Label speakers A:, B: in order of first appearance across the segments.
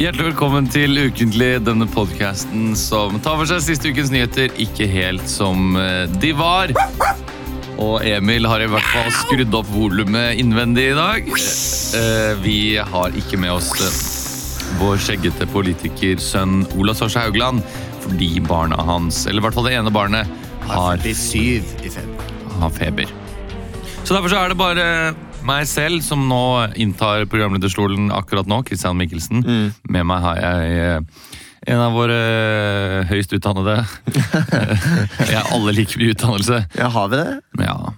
A: Hjertelig velkommen til Ukentlig, denne podkasten som tar for seg siste ukens nyheter ikke helt som eh, de var. Og Emil har i hvert fall skrudd opp volumet innvendig i dag. Eh, Vi har ikke med oss eh, vår skjeggete politikersønn Ola Sorsa Haugland fordi barna hans, eller i hvert fall det ene barnet, har
B: 47 i februar.
A: ha feber. Så derfor så er det bare meg selv som nå inntar programlederstolen akkurat nå, Christian Mikkelsen.
B: Mm.
A: Med meg har jeg eh, en av våre eh, høyst utdannede. ja, alle liker mye utdannelse.
B: Ja, har vi det?
A: Men ja.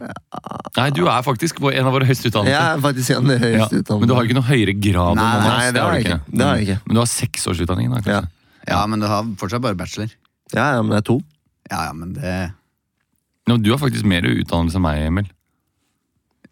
A: Nei, du er faktisk vår- en av våre høyst utdannede.
B: Jeg er faktisk en av de
A: Ja,
B: høyeste
A: Men du har ikke noe høyere grad
C: Nei,
A: enn
B: nei, det har jeg ikke. Det har jeg ikke.
A: Men du har seksårsutdanningen, da,
B: Ja.
A: kanskje?
C: Ja, men du har fortsatt bare bachelor.
B: Ja, ja, men det er to.
C: Ja, ja, men det
A: Nå, du har faktisk mer utdannelse enn meg, Emil.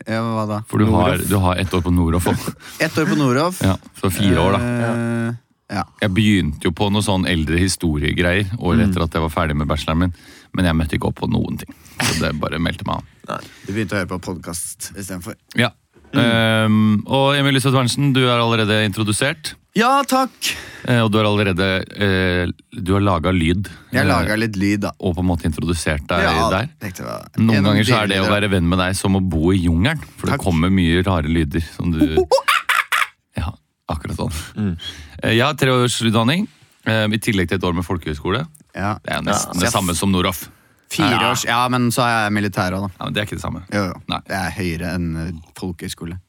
C: ja, Hva da?
A: For du har,
B: Noroff.
A: du har ett år på Noroff.
C: Ett år på Noroff.
A: Ja, så fire år, da.
C: Eh, ja.
A: Jeg begynte jo på noe sånn eldre historiegreier
B: Mm.
A: året etter at jeg var ferdig med bacheloren min, men jeg møtte ikke opp på noen ting. Så det bare meldte meg av.
C: Du begynte å høre på podkast istedenfor.
A: Ja.
B: Mm.
A: Ehm, og Emilie Sødvernsen, du er allerede introdusert.
C: Ja, takk!
A: eh, Og du har allerede eh, Du har laga lyd. eh,
C: Jeg laga litt lyd, da.
A: Og på en måte introdusert deg
C: Ja,
A: der.
C: tenkte jeg var-
A: Noen
C: en
A: ganger så er det å
C: del-
A: være venn med deg som å bo i jungelen. For det
C: Takk.
A: kommer mye rare lyder som du Ja, akkurat sånn.
C: Mm.
A: Eh, Jeg har tre års utdanning, eh, i tillegg til et år med folkehøyskole.
C: ja.
A: Det er jo nesten
C: Ja,
A: det samme som Noroff.
C: Fire års Ja, men så er jeg militær òg, da.
A: Ja, men Det er ikke det samme.
C: Jo, jo.
A: Nei.
C: Det er høyere enn eh, folkehøyskole.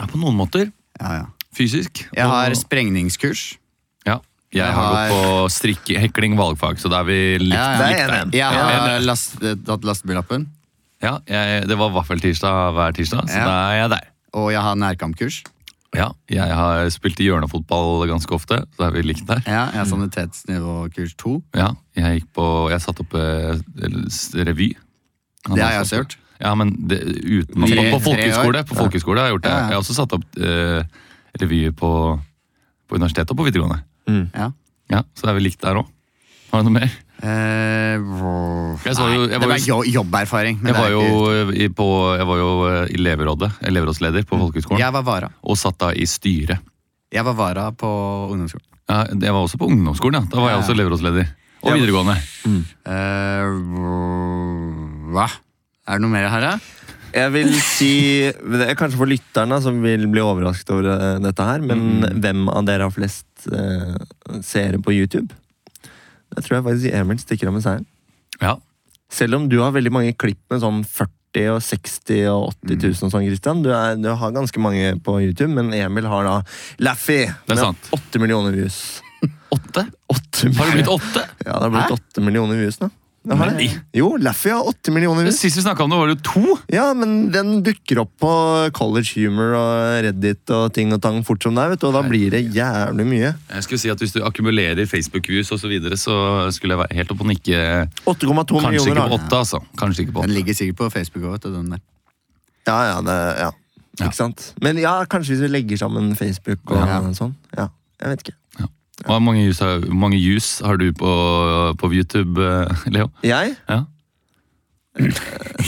A: Ja, på noen måter.
C: Ja, ja.
A: Fysisk.
C: Jeg
A: og-
C: har sprengningskurs.
A: ja. Jeg
C: Jeg
A: har
C: har-
A: gått på strikke, hekling, valgfag, så da er vi likt.
C: Ja,
B: Det
C: ja.
B: er
A: likt
B: enig.
A: der.
C: Jeg har
A: Ja,
C: last, eh, tatt lastebillappen,
A: ja, jeg, det var vaffeltirsdag hver tirsdag, så
C: Ja.
A: da er jeg der.
C: og jeg har nærkampkurs.
A: Ja, jeg har spilt i hjørnefotball ganske ofte, så da er vi likt der.
C: Ja, jeg har sanitetsnivåkurs to.
A: Ja, jeg gikk på Jeg satte opp eh, s- revy. Han
C: Det har
A: satt
C: jeg også
A: opp-
C: gjort.
A: Ja, men det, uten
C: Tre-
A: På, på
C: tre år.
A: folkehøyskole på folkehøyskole har jeg gjort det.
C: Ja, ja.
A: Jeg har også satt opp eh, revyer på, på universitetet og på videregående.
C: Ja.
A: Ja, Så er vi likt der òg. Har du noe mer?
C: Eh, wow.
A: Jeg sa jo- jeg
C: Nei,
A: var
C: det
A: jo-
C: var jo- jobberfaring.
A: Jeg
C: men det
A: var
C: er ikke-
A: jo, i, på, jeg var jo eh, i elevrådet, elevrådsleder
C: Mm.
A: på folkehøgskolen,
C: Jeg var vara.
A: og satt da i styret.
C: Jeg var vara på ungdomsskolen.
A: Ja, jeg var også på ungdomsskolen, ja. Da var jeg
C: Ja.
A: også elevrådsleder. Og
C: Ja.
A: videregående.
C: Eh, wow. hva? Er det noe mer her, da?
B: Jeg vil si, det er kanskje for lytterne som vil bli overrasket over eh, dette her, men
A: Mm.
B: hvem av dere har flest eh, seere på YouTube? Jeg tror jeg faktisk Emil stikker av med seieren.
A: Ja.
B: Selv om du har veldig mange klipp med sånn 40 og 60 og 80
A: Mm.
B: 000 og sånn, Christian. Du, er, du har ganske mange på YouTube, men Emil har da Laffy
A: er
B: med
A: sant.
B: 8 millioner views.
A: Åtte?
B: 8
A: Har det blitt åtte?
B: Ja, det har blitt 8 millioner views nå. Det har det.
A: Nei.
B: Jo, Laffy har 8 millioner views.
A: Sist vi snakka om det, var det jo to!
B: Ja, men den dukker opp på college humor og Reddit og ting og tang fort som det er, vet du, og da blir det jævlig mye.
A: Jeg skulle si at Hvis du akkumulerer Facebook-views osv., så, videre, så skulle jeg være helt oppe og nikke.
B: 8,2
A: Kanskje
B: millioner.
A: ikke på
B: da.
A: åtte, altså. Kanskje ikke på
C: Den
A: åtte.
C: ligger sikkert på Facebook òg, vet du. Den der.
B: Ja, ja, det, ja.
A: Ja.
B: Ikke sant? Men ja, kanskje hvis vi legger sammen Facebook og
C: Ja.
B: sånn. Ja, jeg vet ikke.
A: Hvor mange views har, hvor mange views har du på, på YouTube, eh, Leo?
B: Jeg? Eh,
A: Ja.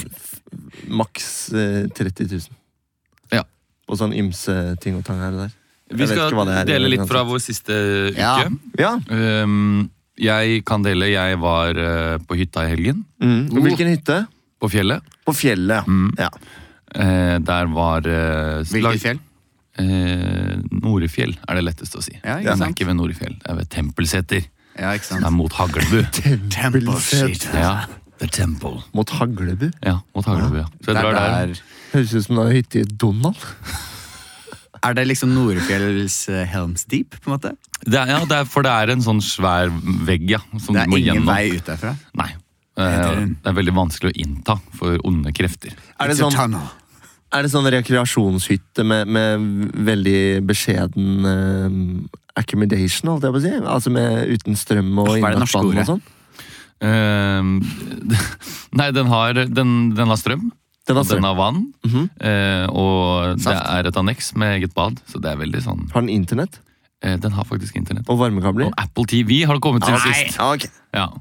B: Maks eh, 30 000.
A: Ja.
B: Og sånn ymse ting og tang her og der. Jeg
A: Vi
B: vet ikke hva
A: skal
B: det er,
A: dele litt
B: uansett.
A: fra vår siste uke.
C: Ja.
B: Ja.
A: Ehm, jeg kan dele. Jeg var eh, på hytta i helgen,
B: Mm. Og Hvilken hytte?
A: på fjellet.
B: På fjellet.
A: Mm.
B: Ja.
A: Eh, der var eh, lag-
C: Hvilket fjell?
A: Eh, Norefjell er det letteste å si.
C: Ja, ikke
A: Men det er
C: sant?
A: ikke ved Norefjell, det er ved Tempelseter.
C: Ja, ikke
A: Det er
C: sant?
A: mot Haglbu.
C: Tempelseter.
A: ja, The Temple.
B: Mot Haglebu.
A: Ja, mot Haglbu, ja. Så
C: Det
A: jeg
C: er,
A: drar der.
C: der.
B: Høres ut som det er hytte i Donald.
C: er det liksom Norefjells eh, Helms Deep, på en måte?
A: Det er, ja, det er, for det er en sånn svær vegg, ja. Som du
C: Det er
A: må
C: ingen
A: gjennom.
C: vei ut derfra.
A: Nei. Eh, det er veldig vanskelig å innta for onde krefter.
B: Er det
C: It's a
B: sånn,
C: tunnel.
B: er det sånn rekreasjonshytte med, med veldig beskjeden eh, accommodation, holdt jeg på å si? Altså med, uten strøm og
C: Hva er det norske
B: innlandsvann
C: ordet?
B: og sånn?
A: Eh, nei, den har, den, den har strøm.
B: Den har
A: og
B: strøm.
A: den har vann. eh, og det
C: Saft.
A: er et anneks med eget bad, så det er veldig sånn
B: Har den internett?
A: eh, Den har faktisk internett.
B: Og varmekabler?
A: Og Apple TV har det kommet til
B: Nei!
A: sist.
B: Ja, ok.
A: Ja.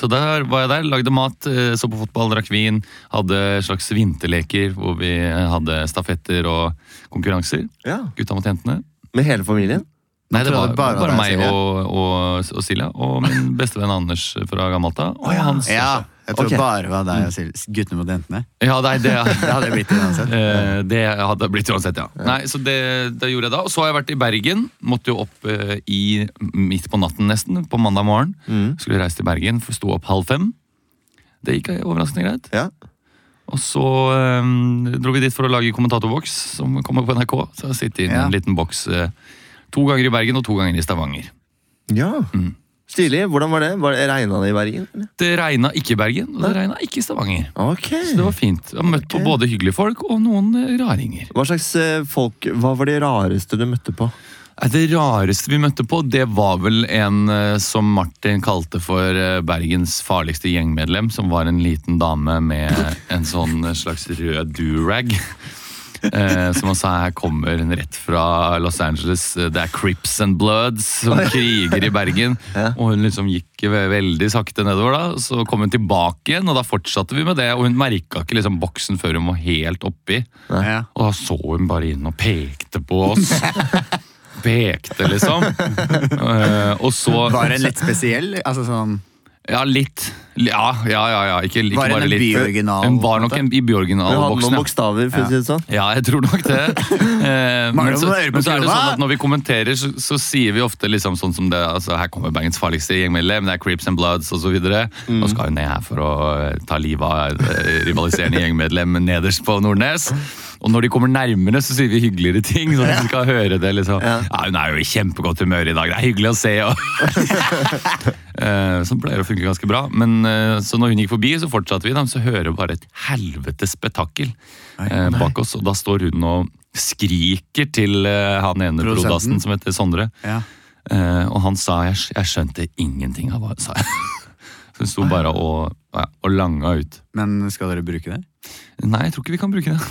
A: Så der var jeg der, lagde mat, eh, så på fotball, drakk vin. Hadde slags vinterleker hvor vi hadde stafetter og konkurranser.
B: ja.
A: Gutta mot jentene.
B: Med hele familien?
A: Nei, det
C: trodde
A: var
C: jeg bare
A: bare,
C: det,
A: meg
C: Silje.
A: og, og, og Silja og min bestevenn Anders fra Gammalt av. Og hans
C: Ja, jeg tror
B: Ok.
C: bare det var deg
A: Mm.
C: og Silje. Guttene mot jentene.
A: Ja, nei, det,
C: Det hadde jeg blitt uansett.
A: Eh, det hadde blitt uansett, ja. Nei, så det, det gjorde jeg da. Og så har jeg vært i Bergen. Måtte jo opp eh, i midt på natten nesten, på mandag morgen.
B: Mm.
C: Mm.
A: Skulle reise til Bergen, for sto opp halv fem. Det gikk eh, overraskende greit.
B: Ja.
A: Og så eh, dro vi dit for å lage kommentatorboks, som kommer på NRK. Så jeg sitter i
C: Ja.
A: en liten boks eh, to ganger i Bergen og to ganger i Stavanger.
B: ja.
C: Mm.
B: Stilig. Hvordan var det? Var det Regna det i Bergen? eller?
A: Det regna ikke i Bergen, og det regna ikke i Stavanger.
B: Ok.
A: Så det var fint. Jeg har møtt på
B: Mm. Ok.
A: både hyggelige folk og noen eh, raringer.
B: Hva slags eh, folk Hva var de rareste du møtte på?
A: Nei, Det rareste vi møtte på, det var vel en eh, som Martin kalte for eh, Bergens farligste gjengmedlem, som var en liten dame med en sånn eh, slags rød durag. Eh, som han sa, her kommer hun rett fra Los Angeles. Eh, Det er Crips and Bloods som kriger i Bergen. Og hun liksom gikk ve- veldig sakte nedover, da. Så kom hun tilbake igjen, og da fortsatte vi med det. Og hun merka ikke liksom boksen før hun var helt oppi.
C: Ja.
A: Og da så hun bare inn og pekte på oss. Pekte, liksom. Eh, og så
C: Var det litt spesiell? Altså sånn
A: Ja, litt. Ja, ja, ja. ja. Ikke, ikke
C: Var det
A: bare
C: en
A: litt.
C: byoriginal,
A: Hun var nok
C: på en
A: en i
B: Du hadde
A: byoriginalboksen.
B: noen
A: ja.
B: bokstaver, for å si det sånn.
A: Ja, jeg tror nok det. Eh, men,
C: Mangler
A: så,
C: noen ører på
A: men så er det
C: kula?
A: sånn at når vi kommenterer, så, så sier vi ofte liksom sånn som det altså Her kommer Bergens farligste gjengmedlem, det er Creeps and Bloods osv. videre Nå skal hun ned her for å eh, ta livet av eh, rivaliserende gjengmedlem nederst på Nordnes. Og når de kommer nærmere, så sier vi hyggeligere ting. Så de skal høre det liksom. ja. hun er jo i kjempegodt humør i dag, det er hyggelig å se. Og. Eh, Som pleier å funke ganske bra. Men eh, så når hun gikk forbi, så fortsatte vi. Da, så hører vi bare et helvetes spetakkel eh, bak oss. Og da står hun og skriker til eh, han ene
C: Produsenten.
A: prodassen som heter Sondre.
C: Ja.
A: Eh, og han sa jeg, skj- 'jeg skjønte ingenting av hva hun sa'. så hun sto bare og, ja, og langa ut.
C: Men skal dere bruke det?
A: Nei, jeg tror ikke vi kan bruke det.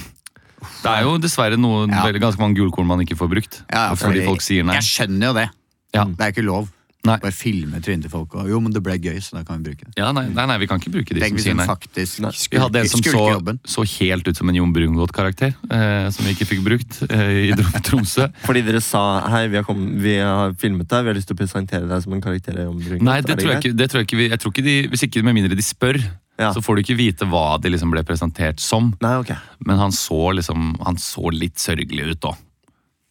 A: Det er jo dessverre noen,
C: Ja.
A: veldig- ganske mange gulkorn man ikke får brukt. fordi folk sier nei.
C: Jeg skjønner jo det.
A: Ja.
C: Det er ikke lov.
A: Nei.
C: Bare filme trynet til folk. Og, jo, men det ble gøy, så da kan vi bruke det.
A: Ja, nei, nei, nei, vi kan ikke bruke de
C: Tenk
A: som
C: hvis
A: sier
C: hun
A: nei.
C: faktisk
B: Nei.
A: Vi hadde en som
C: skulker
A: så,
C: jobben.
A: så helt ut som en Jon Brungot-karakter, eh, som vi ikke fikk brukt eh, i Dro- Tromsø.
B: Fordi dere sa hei, vi har, kommet, vi har filmet deg, vi har lyst til å presentere deg som en karakter. i Omdring».
A: Nei,
B: Er
A: det tror jeg
B: greit?
A: ikke. Det tror jeg ikke, vi, jeg tror ikke de, hvis ikke med mindre de spør,
B: Ja.
A: så får du ikke vite hva de liksom ble presentert som.
B: Nei, ok.
A: Men han så, liksom, han så litt sørgelig ut, da.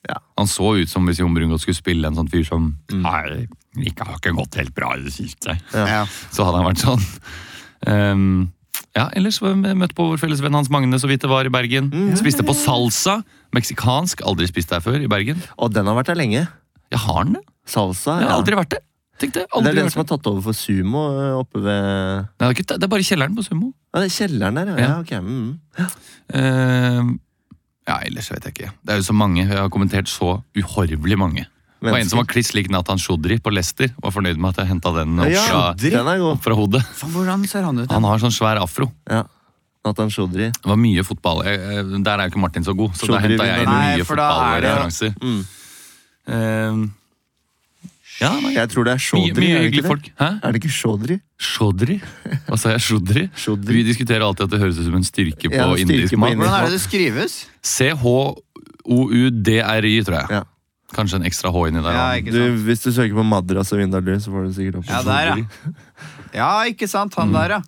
B: Ja. Mm.
A: Han så ut som hvis Jon Brungot skulle spille en sånn fyr som Nei, det har ikke gått helt bra i det siste.
C: Ja.
A: Så hadde han vært sånn. Ehm, ja, ellers var vi møtt på vår felles venn Hans Magne så vidt det var i Bergen.
B: Mm.
A: Spiste på salsa. Meksikansk. Aldri spist der før i Bergen.
B: Og den har vært der lenge.
A: Jeg har den, det.
B: Salsa.
A: Jeg har
B: ja.
A: aldri vært der. Tenkte jeg.
B: Det
A: Aldri
B: er den
A: vært
B: som
A: der.
B: har tatt over for sumo ø, oppe ved ja,
A: Nei, det, er ikke, det er bare kjelleren på Sumo.
B: det er Kjelleren der, ja. ja.
A: Ja.
B: ok. Mm.
A: Ehm, ja, ellers vet jeg ikke. Det er jo så mange. Jeg har kommentert så uhorvelig mange. Det var en som var kliss lik Nathan Shodri på Leicester. Var fornøyd med at jeg henta den opp
B: ja,
A: fra,
B: Den er god.
A: opp fra hodet.
C: Faen, hvordan ser han ut? da?
A: Han har sånn svær afro.
B: Ja. Nathan Shodri.
A: Det var mye fotball. Jeg, jeg- der er jo ikke Martin så god, så da
B: Shodri
A: henta jeg inn
C: vinner. Nei,
A: mye
C: for da er det-
A: fotballreferanser.
B: Mm.
A: Ehm, ja, nei,
B: Jeg tror det er
A: mye,
B: Shodri.
A: mye
B: er det ikke
A: hyggelige
B: det?
A: folk. Hæ?
B: Er det ikke Shodri?
A: Shodri? Hva sa jeg? Shodri?
B: Shodri.
A: Vi diskuterer alltid at det høres ut som en styrke på
B: Ja, styrke
A: indisk
B: på
A: mat.
B: indisk.
C: Hvordan er det det skrives?
A: C-H-O-U-D-R-Y, tror jeg.
B: Ja.
A: Kanskje en ekstra H inni der.
C: Ja,
A: da.
C: ikke
B: Du,
C: sant.
B: hvis du søker på Madras og Vindalur, så får du sikkert opp
C: Ja, der, ja. Ja, ikke sant. Han der,
A: Mm.
C: ja.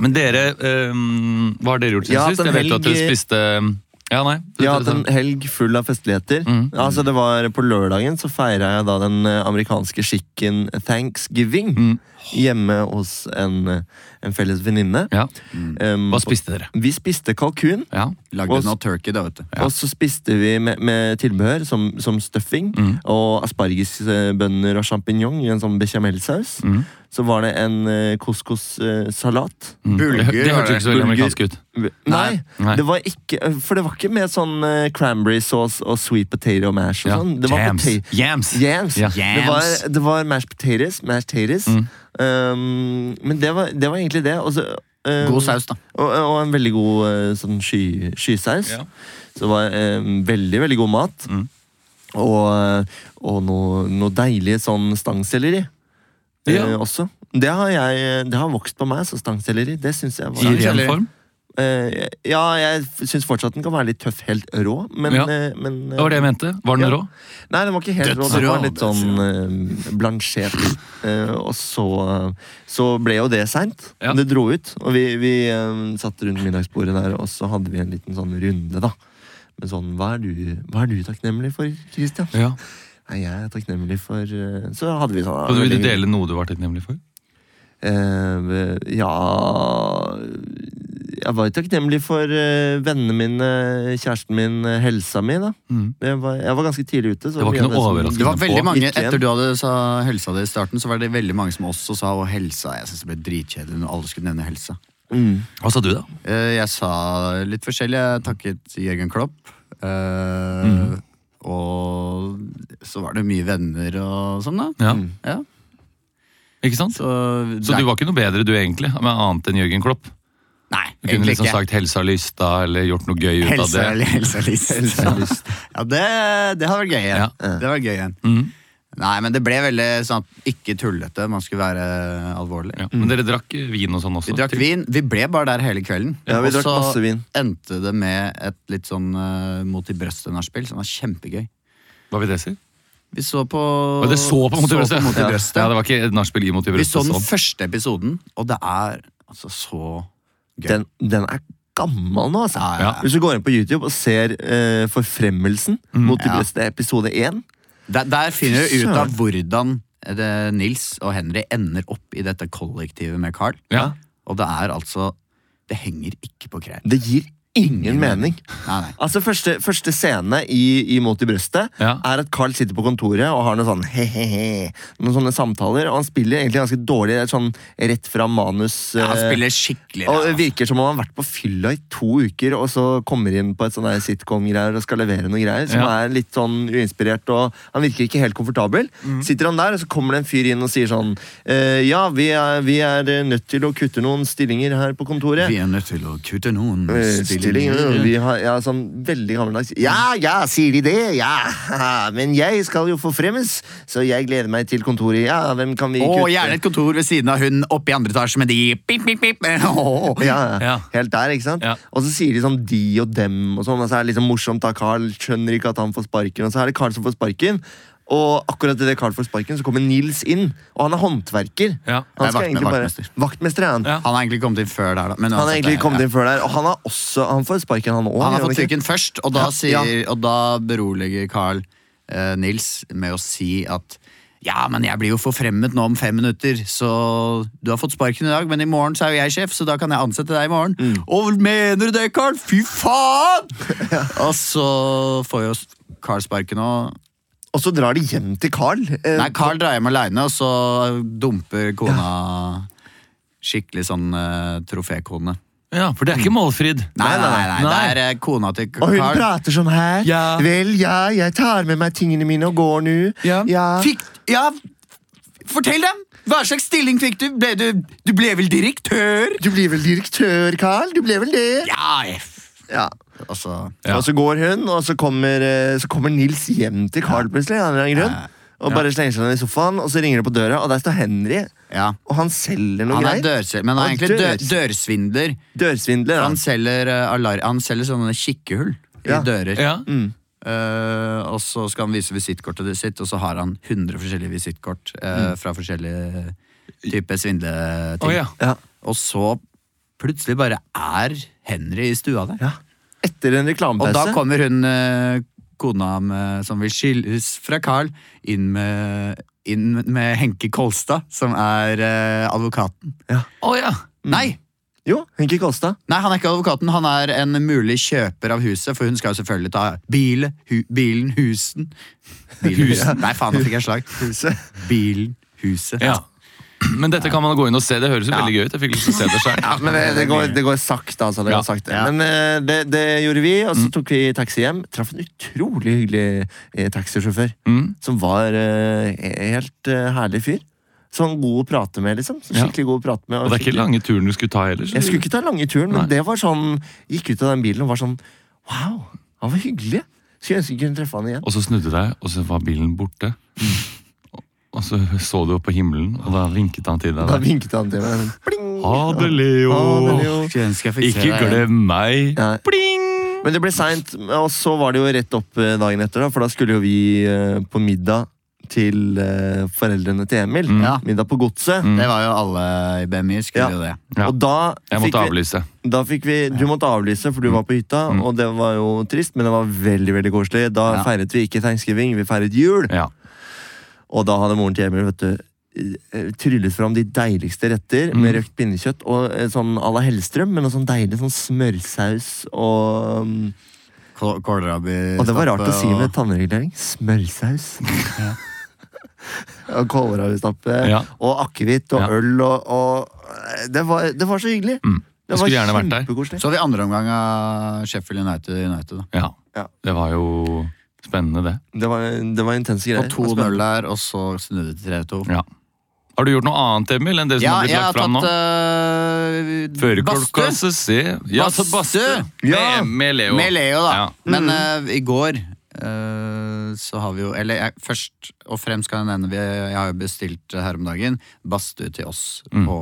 A: Men dere, ehm, hva har dere gjort
B: Ja,
A: siden sist?
B: den
A: Jeg vet jo at dere
B: helg-
A: spiste ehm, Ja, nei.
B: Jeg har
A: det-
B: hatt en helg full av festligheter.
A: Mm.
B: Altså det var På lørdagen så feira jeg da den eh, amerikanske skikken thanksgiving
A: Mm.
B: hjemme hos en, eh, en felles venninne.
A: ja.
B: Um,
A: Hva spiste dere?
B: Vi spiste kalkun,
A: Ja.
C: Lagde
B: Og-
C: noe turkey, da, vet du.
B: og så spiste vi med, med tilbehør som, som stuffing
A: Mm.
B: og aspargesbønner og sjampinjong i en sånn bechamelsaus.
A: Mm.
B: Så var det en eh, couscous-salat.
A: Mm.
C: Bulgur,
A: Det, det
C: var
A: hørtes
C: det.
A: ikke så veldig
B: Bulgur.
A: amerikansk ut.
B: Nei,
A: Nei.
B: det var ikke eh, For det var ikke med sånn eh, cranberry sauce og sweet potato mash og
A: Ja.
B: sånn. Det var
A: Jams.
B: pota-
A: Jams.
B: Yams.
A: Ja.
B: Det, var, det var mashed potatoes. Mashed potatoes.
A: Mm.
B: Um, men det var, det var egentlig det. Og, så, um,
C: God saus, da.
B: og, og en veldig god uh, sånn sky, skysaus.
A: Ja.
B: Så det var um, veldig, veldig god mat.
A: Mm.
B: Og, og noe, noe deilig sånn stangselleri
A: Ja.
B: eh, også. Det har, jeg, det har vokst på meg, så stangselleri. Det syns jeg
A: I
B: var
A: ren
C: Stangselleri.
A: form?
B: Eh, ja, jeg syns fortsatt den kan være litt tøff, helt rå, men,
A: Ja.
B: eh, men eh,
A: Det var det jeg mente. Var den
B: Ja.
A: rå?
B: Nei, den var ikke helt rå. Den
C: Dødsrå.
B: var litt sånn eh, blansjert. Eh, og så, eh, så ble jo det seint.
A: Ja.
B: Det dro ut. Og vi, vi eh, satt rundt middagsbordet der, og så hadde vi en liten sånn runde, da. Men sånn, hva er du, hva er du takknemlig for, Christian?
A: Ja.
B: Nei, jeg er takknemlig for eh, Så hadde vi sånn
A: Vil du dele noe du var takknemlig for?
B: Eh, ja Jeg var jo takknemlig for eh, vennene mine, kjæresten min, eh, helsa mi, da.
A: Mm.
B: Det var, jeg var ganske tidlig ute. Så sånn-
A: Det var
B: mye
A: ikke
B: av
A: noe
B: som-
A: overraskelse.
C: Det var veldig mange,
B: Gikk igjen.
C: Etter du hadde sa helsa di i starten, så var det veldig mange som også sa og helsa. Jeg synes det ble dritkjedelig når alle skulle nevne helsa.
B: Mm.
A: Hva sa du, da?
C: Eh, Jeg sa litt forskjellig. Jeg takket Jørgen Klopp. eh,
A: Mm.
C: Og så var det mye venner og sånn, da.
A: Ja.
C: Ja,
A: Ikke sant?
C: så
A: Så du var ikke noe bedre du egentlig, men annet enn Jørgen Klopp?
C: Nei,
A: Du kunne
C: egentlig
A: liksom
C: ikke.
A: sagt 'helsa lysta' eller gjort noe gøy ut av
C: Helse,
A: det.
C: helse, lyst.
B: Helselyst.
C: Ja, det, det hadde vært gøy igjen.
A: Ja.
C: Det hadde vært gøy igjen.
A: Mhm.
C: Nei, men det ble veldig sånn at ikke tullete. Man skulle være alvorlig.
A: Ja. Men dere drakk vin og sånn også?
C: Vi drakk
A: til-
C: vin. Vi ble bare der hele kvelden.
B: Ja, vi
C: Og
B: drakk
C: så
B: masse vin.
C: endte det med et litt sånn eh, mot i brøstet-nachspiel, som var kjempegøy.
A: Var vi det, sier?
C: Vi så på
A: Og det så på Mot i brøstet!
C: Mot i
A: Ja.
C: brøstet.
A: Ja, det var ikke et nachspiel i Mot i
C: vi så
A: brøstet.
C: den
A: Sånn.
C: første episoden, og det er altså så gøy.
B: Den, den er gammel nå, altså.
C: Ja, ja, ja.
B: Hvis du går inn på YouTube og ser eh, forfremmelsen mot de
C: Ja.
B: beste episode én
C: Der, der finner du ut
B: Søren.
C: av hvordan eh, det, Nils og Henry ender opp i dette kollektivet med Carl.
A: Ja.
C: Og det er altså Det henger ikke på krær.
B: Det gir ingen,
C: Ingen
B: mening.
C: Nei, nei.
B: Altså, første, første scene i, i Mot i brøstet
A: Ja.
B: er at Carl sitter på kontoret og har noe sånn he-he-he, noen sånne samtaler. Og han spiller egentlig ganske dårlig, et sånn rett fra manus.
C: Ja, Han
B: eh,
C: spiller skikkelig
B: og det
C: ræva.
B: virker som om han har vært på fylla i to uker og så kommer inn på et sånn der sitcom-greier og skal levere noe greier som
A: Ja.
B: er litt sånn uinspirert og han virker ikke helt komfortabel.
C: Mm.
B: Sitter han der, og så kommer det en fyr inn og sier sånn eh, Ja, vi er, vi er eh, nødt til å kutte noen stillinger her på kontoret.
C: Vi er nødt til å kutte noen
B: Eh, Stillinger vi har, ja, sånn Veldig gammeldags. Ja, ja, sier de det? Ja, haha, men jeg skal jo forfremmes, så jeg gleder meg til kontoret. Ja, hvem kan vi
C: Og
B: kutte?
C: gjerne et kontor ved siden av hun oppe i andre etasje med de pip, pip, pip. Åh.
B: Ja,
A: Ja.
B: Helt der, ikke sant?
A: Ja.
B: Og så sier de sånn de og dem, og sånn, og så er det liksom morsomt da, Carl skjønner ikke at han får sparken, og så er det Carl som får sparken. Og akkurat idet Carl får sparken, så kommer Nils inn, og han er håndverker.
A: Ja.
B: Han
C: Nei,
B: skal
C: vakt-
B: egentlig bare...
C: vaktmester.
B: Vaktmester er han.
A: Ja.
C: Han har egentlig kommet inn før der, da.
B: Han
C: Men
B: er
C: uansett,
B: egentlig
C: det-
B: kommet inn før der, og han, har også, han får sparken han òg.
C: Han har fått trykken først, og da,
B: Ja, ja.
C: sier, og da beroliger Carl eh, Nils med å si at ja, men jeg blir jo forfremmet nå om fem minutter, så du har fått sparken i dag, men i morgen så er jo jeg sjef, så da kan jeg ansette deg i morgen. Og mener du det, Carl? Fy faen! Og så får jo Carl sparken og
B: Og så drar de hjem til Carl. eh,
C: Nei, Carl drar hjem aleine, og så dumper kona skikkelig sånn eh, trofékone.
A: ja, for det er ikke målfrid.
C: Nei, nei, nei, nei,
A: Nei.
C: det er eh, kona til
B: Og hun
C: Carl.
B: prater sånn her.
A: Ja.
B: Vel, ja, jeg tar med meg tingene mine og går nå.
A: Ja.
C: Fikk, ja, fortell dem! Hva slags stilling fikk du? Ble du, du ble vel direktør?
B: Du blir vel direktør, Carl? Du blir vel det?
C: Ja, F.
B: Ja.
C: Altså,
A: Ja.
B: Og så går hun, og så kommer, eh, så kommer Nils hjem til Carl plutselig. av en eller annen grunn. Og bare slenger seg ned i sofaen, og så ringer det på døra, og der står Henry.
C: ja.
B: Og han selger noe
C: Han er
B: greier.
C: dørsvindler, men han er
B: Han
C: egentlig dør,
B: dørs-
C: dørsvindler.
B: Dørsvindler. da.
C: Han selger, eh, alar han selger sånne kikkehull i
B: Ja.
C: dører.
A: Ja.
C: Eh, og så skal han vise visittkortet det sitt, og så har han 100 forskjellige visittkort eh, fra forskjellige typer svindleting.
A: Mm. Å, ja.
B: Ja.
C: Og så plutselig bare er Henry i stua der.
B: ja. Etter en
C: Og da
B: reklamepause.
C: kommer hun eh, kona med, som vil skilles fra Carl, inn med, inn med Henke Kolstad, som er eh, advokaten.
A: Å, ja.
B: Mm.
C: Nei!
B: Jo, Henki Kolstad.
C: Nei, han er ikke advokaten. Han er en mulig kjøper av huset, for hun skal jo selvfølgelig ta bilen, hu, bilen husen. Bilen, husen. Nei, faen, nå fikk jeg slag. Bilen, huset.
A: ja. Men dette kan man gå inn og se. Det høres jo
C: Ja.
A: veldig gøy ut. Jeg fikk lyst til å se det selv.
B: Ja, men det, det, går, det går sakte, altså. Det
A: Ja.
B: går sakte.
C: Ja.
B: Men eh, det, det gjorde vi, og så tok vi taxi hjem. Traff en utrolig hyggelig eh, taxisjåfør.
A: Mm.
B: Som var eh, helt eh, herlig fyr. Sånn god å prate med, liksom. Så
A: Ja.
B: Skikkelig god å prate med.
A: Og det er ikke
B: skikkelig-
A: lange turen du skulle ta heller. så-
B: Jeg skulle ikke ta lange turen, men
A: Nei.
B: det var sånn Gikk ut av den bilen og var sånn Wow, han var hyggelig. Skulle ønske jeg kunne treffe han igjen.
A: Og så snudde deg, og så var bilen borte.
B: Mm.
A: Og- Og så så du opp på himmelen, og da vinket han til deg.
B: Da
A: Der.
B: vinket han til meg. Pling!
A: Ha det, Leo.
B: Ha det, Leo.
C: Åh, Skulle ønske jeg fikk se
A: Ikke
C: deg igjen.
A: glem meg.
B: Nei.
A: Pling!
B: Men det ble seint, og så var det jo rett opp eh, dagen etter, da, for da skulle jo vi eh, på middag til eh, foreldrene til Emil.
A: Mm.
C: Ja.
B: Middag på godset.
A: Mm.
C: Det var jo alle i BMI skulle
B: Ja.
C: jo det.
A: Ja.
B: Og da
A: Jeg
B: fikk,
A: måtte
B: vi,
A: avlyse.
B: da fikk vi Du måtte avlyse, for du var på hytta,
A: Mm.
B: og det var jo trist, men det var veldig veldig koselig. Da
C: Ja.
B: feiret vi ikke thanksgiving, vi feiret jul.
A: Ja.
B: Og da hadde moren til Emil vet du, eh, tryllet fram de deiligste retter
A: Mm.
B: med røkt pinnekjøtt og eh, sånn à la Hellstrøm, men noe sånn deilig sånn smørsaus og mm,
C: Kål- Kålrabi
B: Og det var rart å
C: stappe
B: si med
C: og-
B: tannregulering. Smørsaus. Og kålrabistappe
A: Ja.
B: og akevitt og
A: Ja.
B: øl og, og eh, det, var, det var så hyggelig.
A: Mm.
B: Det var
A: Jeg skulle gjerne vært der.
B: kjempekoselig.
C: Så vi andre omgang av Sheffield United United, da.
A: ja.
B: Ja.
A: Det var jo spennende, det.
B: Det var, det var intense
C: På
B: greier.
C: 2-0 der, og så snudde det til 3-2.
A: Ja. Har du gjort noe annet, Emil, enn det som
C: Ja,
A: har blitt
C: jeg har
A: lagt fram
C: tatt
A: nå?
C: øh,
B: eh,
A: Førerklokka
C: Badstue
A: CC. Ja, så
C: Badstue!
A: Badstue!
B: Ja.
A: Med, med Leo.
C: med Leo, da.
A: Ja.
C: Men øh, i går øh, så har vi jo Eller jeg, først og fremst kan jeg nevne vi, Jeg har jo bestilt øh, her om dagen badstue til oss
A: Mm.
C: på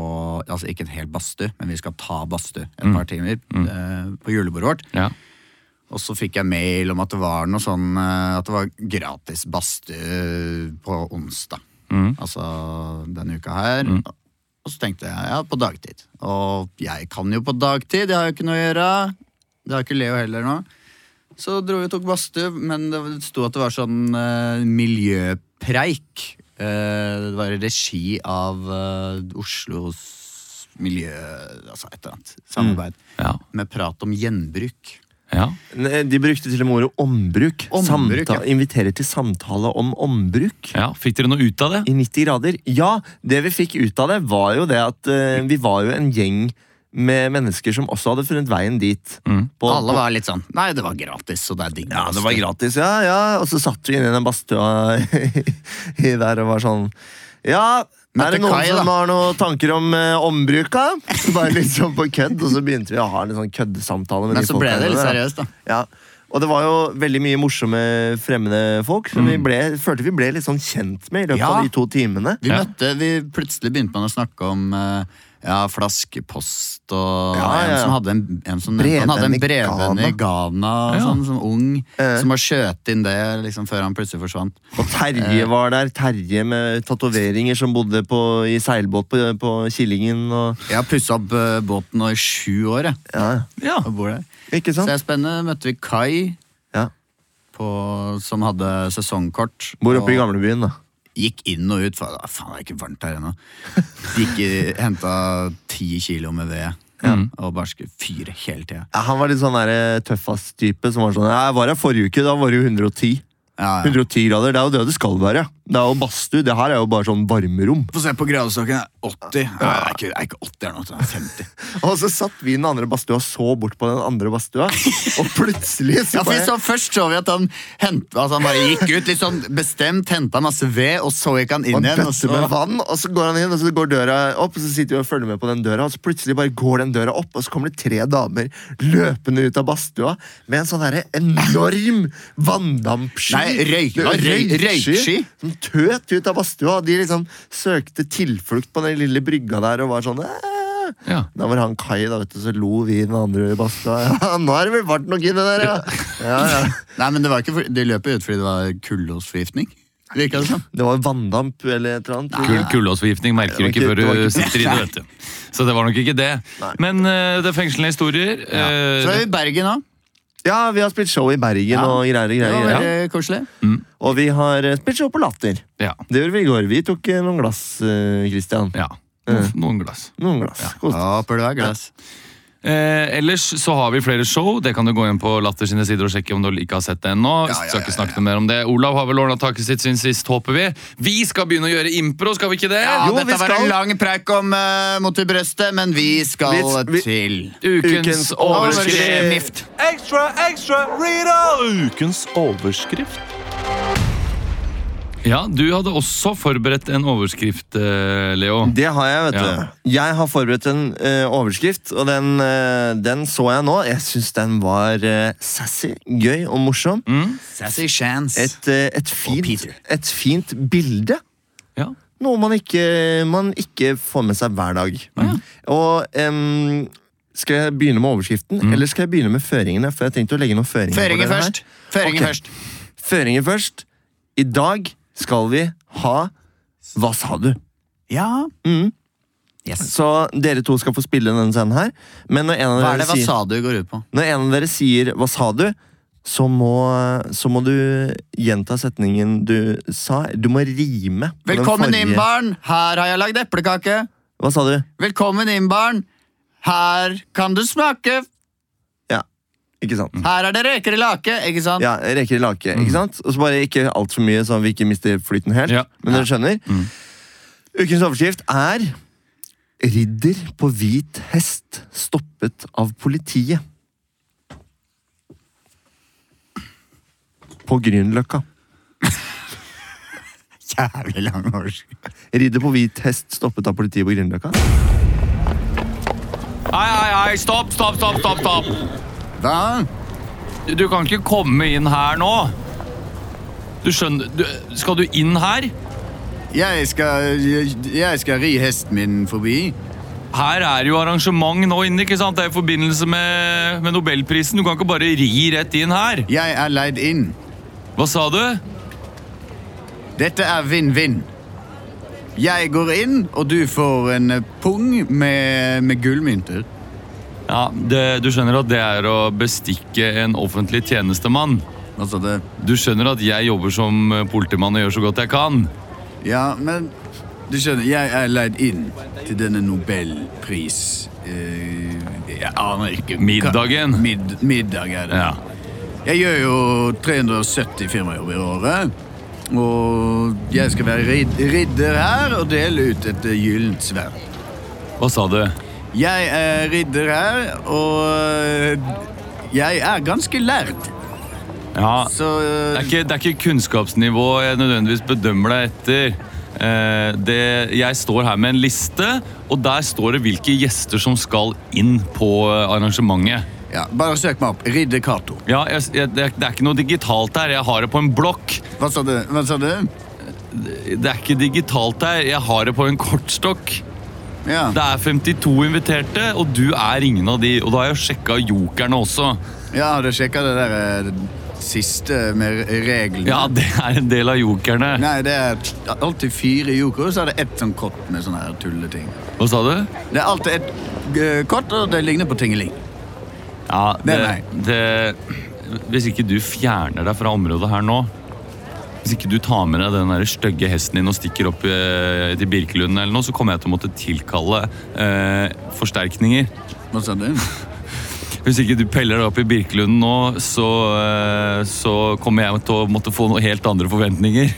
C: Altså ikke en hel badstue, men vi skal ta badstue
A: Mm.
C: et par timer øh, på julebordet vårt.
A: Ja.
C: Og så fikk jeg mail om at det var noe sånn eh, At det var gratis badstue på onsdag.
A: Mhm.
C: Altså denne uka her. Og så tenkte jeg ja, på dagtid. Og jeg kan jo på dagtid, jeg har jo ikke noe å gjøre. Det har ikke Leo heller nå. Så dro vi og tok badstue, men det sto at det var sånn eh, miljøpreik. Eh, det var i regi av eh, Oslos miljø... Altså et eller annet samarbeid.
A: Ja.
C: Med prat om gjenbruk.
A: ja.
B: Ne, De brukte til og med ordet ombruk.
C: Ombruk,
B: Samta-
C: ja.
B: Inviterer til samtale om ombruk.
A: ja. Fikk dere noe ut av det?
B: I 90 grader. Ja, det vi fikk ut av det, var jo det at eh, vi var jo en gjeng med mennesker som også hadde funnet veien dit.
A: Mm.
B: På-
C: Alle var litt sånn Nei, det var gratis, så det er digg.
B: Ja, det var gratis, ja, ja. Og så satt vi inne i den badstua i der og var sånn Ja, er
C: Møtte
B: det noen
C: Kai, da.
B: som har noen tanker om eh, ombruk, da? Så Bare litt sånn på kødd, og så begynte vi å ha en litt sånn køddesamtale. Med
C: Men
B: de
C: så ble
B: folka
C: det litt
B: der, da.
C: seriøst, da.
B: Ja, og det var jo veldig mye morsomme fremmede folk, som vi ble, følte vi ble litt sånn kjent med i løpet
C: Mm. Ja.
B: av de to timene.
C: Vi
A: Ja.
C: møtte, vi plutselig begynte man å snakke om eh, ja, flaskepost og
B: Ja, ja,
C: en
B: ja.
C: som hadde en, en, som nevnte, han hadde en
B: Brevvenn
C: brevvenn
B: i
C: i Ghana,
A: Ja.
C: sånn, sånn ung,
B: Eh.
C: som har skjøt inn det liksom, før han plutselig forsvant.
B: Og
C: Eh.
B: Terje var der, Terje med tatoveringer som bodde på, i seilbåt på, på Killingen og
C: Jeg har pussa opp eh, båten nå i sju år, jeg,
B: Ja,
A: Ja.
C: og bor der.
B: ikke
C: Så
B: sant?
C: det er spennende. Møtte vi Kai,
B: Ja.
C: på, som hadde sesongkort.
B: Bor oppe i
C: og-
B: gamlebyen, da.
C: Gikk inn og ut, for ah, faen, det er ikke varmt her ennå. Gikk i, henta ti kilo med ved og bare skulle fyre hele tida.
B: Ja, han var litt sånn der, eh, tøffass-type som var sånn «Ja, Jeg var her forrige uke, da var det jo 110.
C: Ja, ja.
B: 110 grader, Det er jo det det skal være. Det er jo badstue. Det her er jo bare sånn varmerom.
C: Få se på gradestokken. 80. Nei, det er ikke, det er ikke 80 her nå, det er 50.
B: Og så satt vi i den andre badstua og så bort på den andre badstua, og plutselig
C: Ja,
B: så
C: for vi
B: bare
C: så, først så vi at han, hent, altså han bare gikk ut litt sånn bestemt, henta masse ved, og så gikk han inn
B: og
C: igjen. Og
B: bøtte
C: så,
B: med vann, og så går han inn, og så går døra opp, og så sitter vi og følger med på den døra, og så plutselig bare går den døra opp, og så kommer det tre damer løpende ut av badstua med en sånn herre enorm vanndampsky.
C: Nei, røyk-
B: Det var
C: røy- røyksky.
B: Som tøt ut av badstua, og de liksom søkte tilflukt på den lille brygga der og var sånn «Æ».
A: Ja.
B: Da var han Kai, da, vet du, så lo vi i den andre i badstua. Ja, nå er det vel vart nok inni der, ja. ja, ja.
C: nei, men det var ikke for, De løp jo ut fordi det var kullosforgiftning. Virka det som.
B: Det var damp eller et eller annet.
A: Kull, kullåsforgiftning merker du
B: Det var
A: ikke før
B: ikke- det
A: du
B: var
A: sitter i det. vet du. Så det var nok ikke det. Men eh, det er fengslende historier. eh,
C: Så er vi i Bergen nå.
B: Ja, vi har spilt show i Bergen
C: Ja.
B: og greier og
C: Det
B: greier.
C: var
B: greier.
C: veldig koselig.
B: Og vi har eh, spilt show på Latter.
A: ja.
B: Det gjorde vi i går. Vi tok eh, noen glass, eh, Christian.
A: ja. Noen- Noen glass.
B: Noen glass. Koste.
C: Håper du er glass.
A: Eh, ellers så har vi flere show. Det kan du gå inn på Latter sine sider og sjekke om du ikke har sett det ennå.
C: Ja, ja, ja,
A: Skal ikke snakke noe mer om det. Olav har vel ordna taket sitt siden sist, håper vi. Vi skal begynne å gjøre impro, skal vi ikke det?
C: Ja,
B: Jo, vi
C: dette var en
B: skal.
C: lang preik om eh, mot i brøstet, men vi skal
B: Vi- vi-
C: til
A: Ukens
B: Ukens
A: overskrift.
C: Overskrift.
D: Ekstra, ekstra, read Ukens overskrift.
A: Ja, du hadde også forberedt en overskrift, eh, Leo.
B: Det har jeg, vet
A: Ja.
B: du. Jeg har forberedt en eh, overskrift, og den, eh, den så jeg nå. Jeg syns den var eh, sassy, gøy og morsom.
C: Sassy Chance.
B: Et, eh, et,
C: Og
B: fint,
C: Peter.
B: et fint bilde.
A: Ja.
B: Noe man ikke, man ikke får med seg hver dag. Og em, skal jeg begynne med overskriften, eller skal jeg begynne med føringene? For jeg har tenkt å legge noen føringer. på
E: Føringer
B: dere her.
E: først. Føringer
B: Ok.
E: først.
B: Føringer først. I dag skal vi ha Hva sa du?
E: Ja.
B: Mm.
E: Yes.
B: Så dere to skal få spille denne scenen her. Men når en av
E: Hva er
B: dere
E: det hva
B: sier,
E: sa du går ut på?
B: når en av dere sier 'hva sa du', så må, så må du gjenta setningen du sa. Du må rime. på den
E: Velkommen inn,
B: forrige.
E: barn. Her har jeg lagd eplekake.
B: Hva sa du?
E: Velkommen inn, barn. Her kan du smake.
B: Ikke sant?
E: Her er det reker i lake, ikke sant?
B: Ja, reker i lake, ikke sant? Og så bare ikke altfor mye, sånn at vi ikke mister flyten helt.
A: Ja.
B: Men dere skjønner. Ukens overskrift er Ridder på hvit hest stoppet av politiet. På Grünerløkka.
E: Jævlig lang overskrift.
B: Ridder på hvit hest stoppet av politiet på Grünerløkka.
A: Hei, hei, hei, stopp, stopp, stopp, stopp, stopp.
E: Hva?
A: Du- Du kan ikke komme inn her nå. Du skjønner, du, skal du inn her?
E: Jeg skal, jeg, jeg skal ri hesten min forbi.
A: Her er jo arrangement nå inne, ikke sant? Det er i forbindelse med, med Nobelprisen. Du kan ikke bare ri rett inn her.
E: Jeg er leid inn.
A: Hva sa du?
E: Dette er vinn-vinn. Jeg går inn, og du får en eh, pung med, med gullmynter.
A: Ja, det, du skjønner at det er å bestikke en offentlig tjenestemann.
E: Altså det
A: Du skjønner at jeg jobber som eh, politimann og gjør så godt jeg kan.
E: Ja, men du skjønner, jeg er leid inn til denne Nobelpris... eh, jeg aner ikke.
A: Middagen.
E: Mid, middag er det.
A: Ja.
E: Jeg gjør jo 370 firmajobber i året. Og jeg skal være rid ridder her og dele ut et eh, gyllent sverd.
A: Hva sa du?
E: Jeg er ridder her, og eh, jeg er ganske lært.
A: Ja,
E: Så
A: det
E: eh,
A: er ikke, det er ikke kunnskapsnivå jeg nødvendigvis bedømmer deg etter. Eh, det, jeg står her med en liste, og der står det hvilke gjester som skal inn på eh, arrangementet.
E: ja, Bare søk meg opp. Ridder Cato.
A: Ja, jeg, jeg, det, er, det er ikke noe digitalt her. Jeg har det på en blokk.
E: Hva sa du? Hva sa du?
A: Det er ikke digitalt her. Jeg har det på en kortstokk.
E: Ja.
A: Det er 52 inviterte, og du er ingen av de. Og da har jeg sjekka jokerne også.
E: Ja, har du sjekka det der eh, det siste med re- reglene?
A: Ja, det er en del av jokerne.
E: Nei, det er alltid fire joker, og så er det ett sånn kott med sånne her tulleting.
A: Hva sa du?
E: Det er alltid ett eh, kott, og det ligner på tingeling.
A: Ja, det,
E: Nei,
A: det Hvis ikke du fjerner deg fra området her nå Hvis ikke du tar med deg den der stygge hesten din og stikker opp eh, til Birkelund, eller noe, så kommer jeg til å måtte tilkalle eh, forsterkninger.
E: Hva sa du?
A: Hvis ikke du peller deg opp i Birkelunden nå, så, eh, så kommer jeg til å måtte få noe helt andre forventninger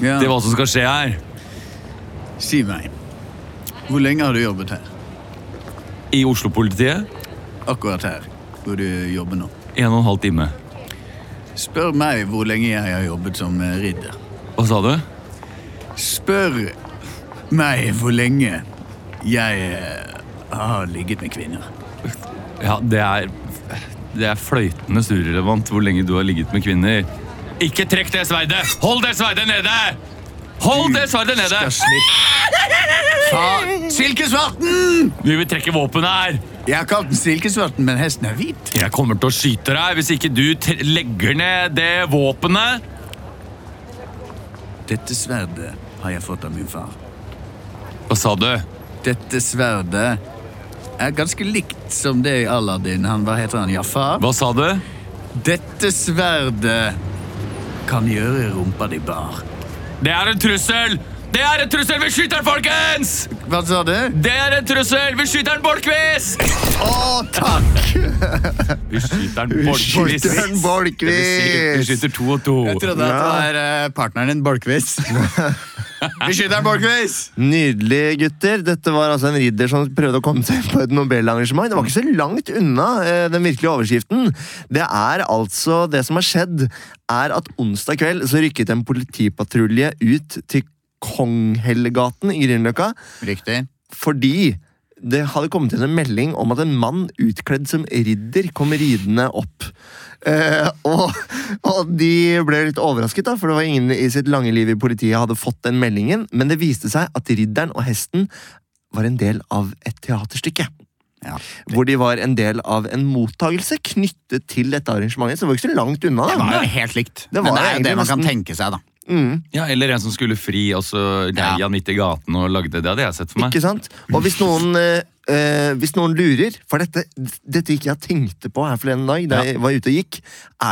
E: Ja.
A: til hva som skal skje her.
E: Si meg, hvor lenge har du jobbet her?
A: I Oslo-politiet,
E: Akkurat her, hvor du jobber nå.
A: en og en halv time.
E: Spør meg hvor lenge jeg har jobbet som eh, ridder.
A: Hva sa du?
E: Spør meg hvor lenge jeg eh, har ligget med kvinner.
A: Ja, det er, det er fløytende surrelevant hvor lenge du har ligget med kvinner. Ikke trekk det sverdet! Hold det sverdet nede! Hold det sverdet nede!
E: Skal slippe. Faen! Silkesvarten!
A: Vi vil trekke våpenet her!
E: Jeg har kalt den silkesvarten, men hesten er hvit.
A: Jeg kommer til å skyte deg hvis ikke du tre- legger ned det våpenet.
E: Dette sverdet har jeg fått av min far.
A: Hva sa du?
E: Dette sverdet er ganske likt som det i Aladdin. Han, hva heter han? Jafar?
A: Hva sa du?
E: Dette sverdet kan gjøre rumpa di bar.
A: Det er en trussel! Det er en trussel! Vi skyter den, folkens!
E: Hva sa du?
A: Det er en trussel! Vi skyter den, Borchquist!
E: Å, takk!
A: Vi skyter den,
E: Vi
A: Borchquist.
E: skyter den, Borchquist.
A: Det vil si, Vi skyter to og to.
E: Jeg trodde at det var eh, partneren din, Bolkvist. Vi skyter en Bolkvist!
B: Nydelig, gutter. Dette var altså en ridder som prøvde å komme seg inn på et Nobel-arrangement. Det var ikke så langt unna eh, den virkelige overskriften. Det er altså Det som har skjedd, er at onsdag kveld så rykket en politipatrulje ut til Konghellegaten i Grünerløkka
E: Riktig.
B: fordi det hadde kommet inn en melding om at en mann utkledd som ridder kom ridende opp. Eh, og, og de ble litt overrasket, da, for det var ingen i sitt lange liv i politiet hadde fått den meldingen. Men det viste seg at ridderen og hesten var en del av et teaterstykke.
C: Ja.
B: Hvor de var en del av en mottagelse knyttet til dette arrangementet. Så det var ikke så langt unna.
C: Det
B: da.
C: var jo helt likt.
B: Det var
C: Men det er jo
B: egentlig
C: det man kan
B: nesten-
C: tenke seg, da.
B: Mm.
A: Ja, Eller en som skulle fri, og så leia
C: Ja.
A: han midt i gaten og lagde det. Det hadde jeg sett for meg.
B: Ikke sant? Og hvis noen, eh, eh, hvis noen lurer, for dette, dette gikk jeg tenkte på her forleden dag, da jeg var ute og gikk,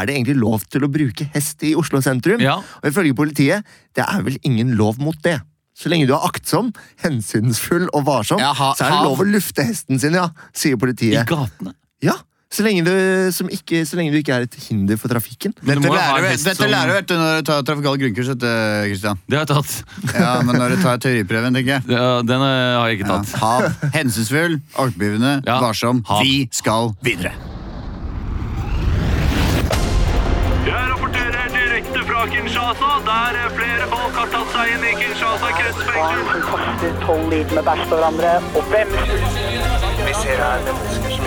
B: er det egentlig lov til å bruke hest i Oslo sentrum?
A: Ja.
B: Og ifølge politiet, det er vel ingen lov mot det. Så lenge du er aktsom, hensynsfull og varsom,
C: Ja, ha-
B: så er det
C: ha-
B: lov å lufte hesten sin, ja, sier
A: I
B: politiet.
A: gatene.
B: Ja, så lenge, du, som ikke, så lenge du ikke er et hinder for trafikken.
A: Men du
C: Dette
A: må jo ha en
C: lærer,
A: hest
C: du, dette
A: som-
C: lærer du vet du, når du tar trafikale grunnkurs, vet du, Christian.
A: Det har jeg tatt.
C: Ja, men når du tar teoriprøven, tenker jeg.
A: Det, den eh, har jeg ikke
C: Ja.
A: tatt.
C: Hav, hensynsfull, aktpågivende,
A: Ja.
C: varsom.
A: Hav.
C: Vi skal videre.
F: Jeg rapporterer direkte fra Kinshasa, der flere folk har tatt seg inn i Kinshasa
G: barn
F: kretsfengsel.
G: som kaster tolv liter med bæsj på hverandre, og bremser.
H: Vi ser her mennesker som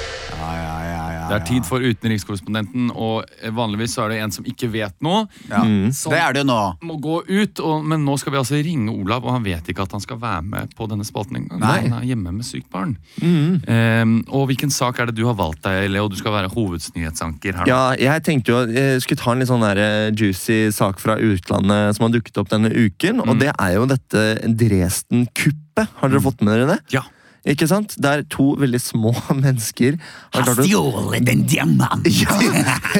A: Det er tid for utenrikskorrespondenten, og eh, vanligvis så er det en som ikke vet noe.
C: Ja.
A: Som
C: Det er det jo nå.
A: må gå ut, og, men nå skal vi altså ringe Olav, og han vet ikke at han skal være med på denne spalten engang.
C: Nei. Mm.
A: Han er hjemme med sykt barn. Eh, og hvilken sak er det du har valgt deg, Leo? Du skal være hovedsnyhetsanker her. nå.
B: Ja, jeg tenkte jo jeg skulle ta en litt sånn der eh, juicy sak fra utlandet som har dukket opp denne uken,
C: Mm.
B: og det er jo dette Dresden-kuppet. Har dere fått med dere det?
A: Ja.
B: Ikke sant? Der to veldig små mennesker har klart å-
C: stjålet en diamant!
B: ja,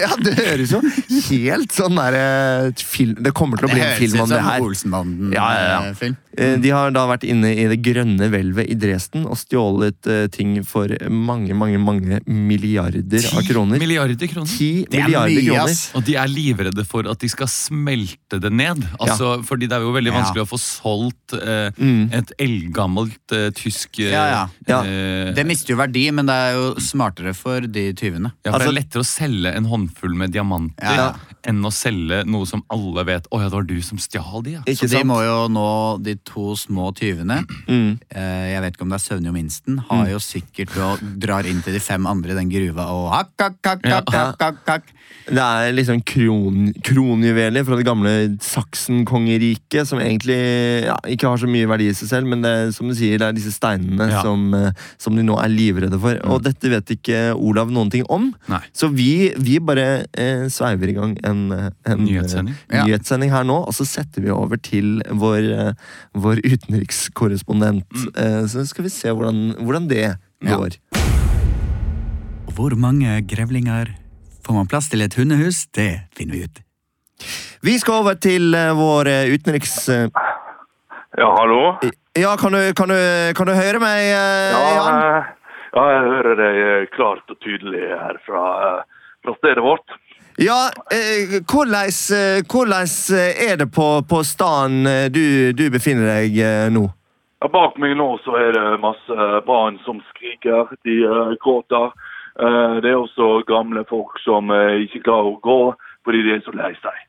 B: ja, det høres jo helt sånn der eh, film. Det kommer til å
C: Det
B: bli en
C: høres
B: film
C: ut
B: om det
C: som Mm.
B: her.
C: Olsenbanden-film.
B: Ja, ja, ja. Eh, De har da vært inne i det grønne hvelvet i Dresden og stjålet eh, ting for mange, mange, mange milliarder av kroner.
A: Milliarder kroner.
B: 10
C: er
B: milliarder
C: mye,
B: kroner.
C: ass.
A: Og de er livredde for at de skal smelte det ned. Altså, Fordi det er jo veldig
C: Ja.
A: vanskelig å få solgt eh,
B: Mm.
A: et eldgammelt eh, tysk eh,
C: Ja,
B: ja. Ja.
A: eh,
C: Det mister jo verdi, men det er jo smartere for de tyvene.
A: Ja, for Det
B: Altså-
A: er lettere å selge en håndfull med diamanter
C: Ja.
A: enn å selge noe som alle vet Å ja, det var du som stjal de, ja.
C: Så
B: Ikke
C: de
B: sant?
C: må jo nå, de to små tyvene
B: Mm.
C: eh, Jeg vet ikke om det er Søvnio Minsten. Har jo sikkert og drar inn til de fem andre i den gruva og hakk, hakk, hakk,
A: Ja.
C: hakk, hakk, hakk, hakk.
B: Det er liksom kron, kronjuveler fra det gamle Saksen-kongeriket, som egentlig ja, ikke har så mye verdi i seg selv, men det, er, som du sier, det er disse steinene
A: Ja. Mm.
B: som, eh, som de nå er livredde for. Og dette vet ikke Olav noen ting om,
A: Nei.
B: så vi, vi bare eh, sveiver i gang en, eh, en
A: Nyhetssending.
B: eh,
C: Ja.
B: nyhetssending her nå, og så setter vi over til vår, eh, vår utenrikskorrespondent.
A: Mm.
B: Eh, så skal vi se hvordan, hvordan det
C: Ja.
B: går.
C: Og Hvor mange grevlinger får man plass til et hundehus? Det finner vi ut.
B: Vi skal over til eh, vår eh, utenriks... eh,
I: Ja, hallo?
B: Ja, kan du, kan du, kan du høre meg, eh, Jan?
I: eh, ja, jeg hører deg eh, klart og tydelig her fra, eh, fra stedet vårt.
B: Ja, eh, hvordan eh, hvordan, eh, er det på, på staden eh, du, du befinner deg eh, nå?
I: Ja, Bak meg nå så er det masse eh, barn som skriker, de er gråter. Eh, Det er også gamle folk som eh, ikke klarer å gå fordi de er så lei seg.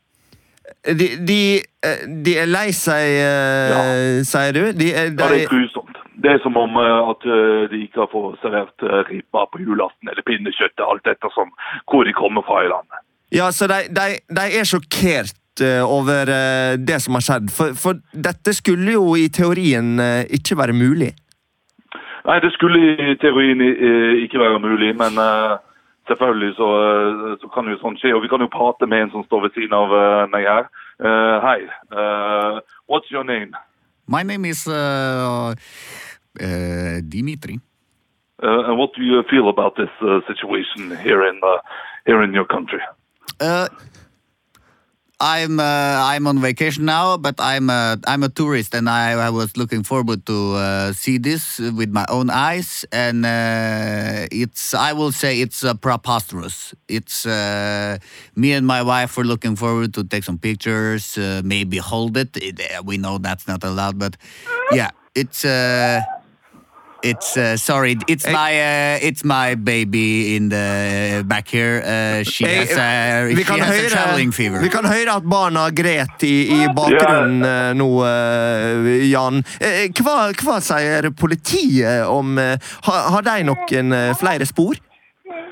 B: De, de, eh, de er lei seg, eh, sier du? De, er-
I: Ja, det
B: de,
I: er grusomt. Det er som om eh, at eh, de ikke har fått servert eh, ribba på julaften eller pinnekjøttet, alt ettersom hvor de kommer fra i landet.
B: ja, så de, de, de er sjokkert. eh, Over eh, det som har skjedd. For, for dette skulle jo i teorien eh, ikke være mulig.
I: Nei, det skulle i teorien eh, ikke være mulig, men eh, selvfølgelig så, eh, så kan jo sånt skje. Og vi kan jo prate med en som står ved siden av eh, meg her. Eh, hei, eh, what's your name?
C: My name is uh, uh, Dimitri.
I: Eh, and what do you feel about this eh, situation here in, eh, here in your country?
C: Uh, I'm uh, I'm on vacation now, but I'm a, I'm a tourist, and I, I was looking forward to uh, see this with my own eyes. And uh, it's I will say it's uh, preposterous. It's uh, me and my wife were looking forward to take some pictures, uh, maybe hold it. It- uh, We know that's not allowed, but yeah, it's. Uh, It's uh, sorry. It's my uh, it's my baby in the back here. Uh, she
B: Hey,
C: has a,
B: vi,
C: she
B: kan
C: has a traveling
B: høre,
C: fever.
B: vi kan høre at barna gret i, i bakgrunnen eh, nå, eh, Jan. Eh, Hva, hva sier politiet om eh, Har, har de noen eh, flere spor?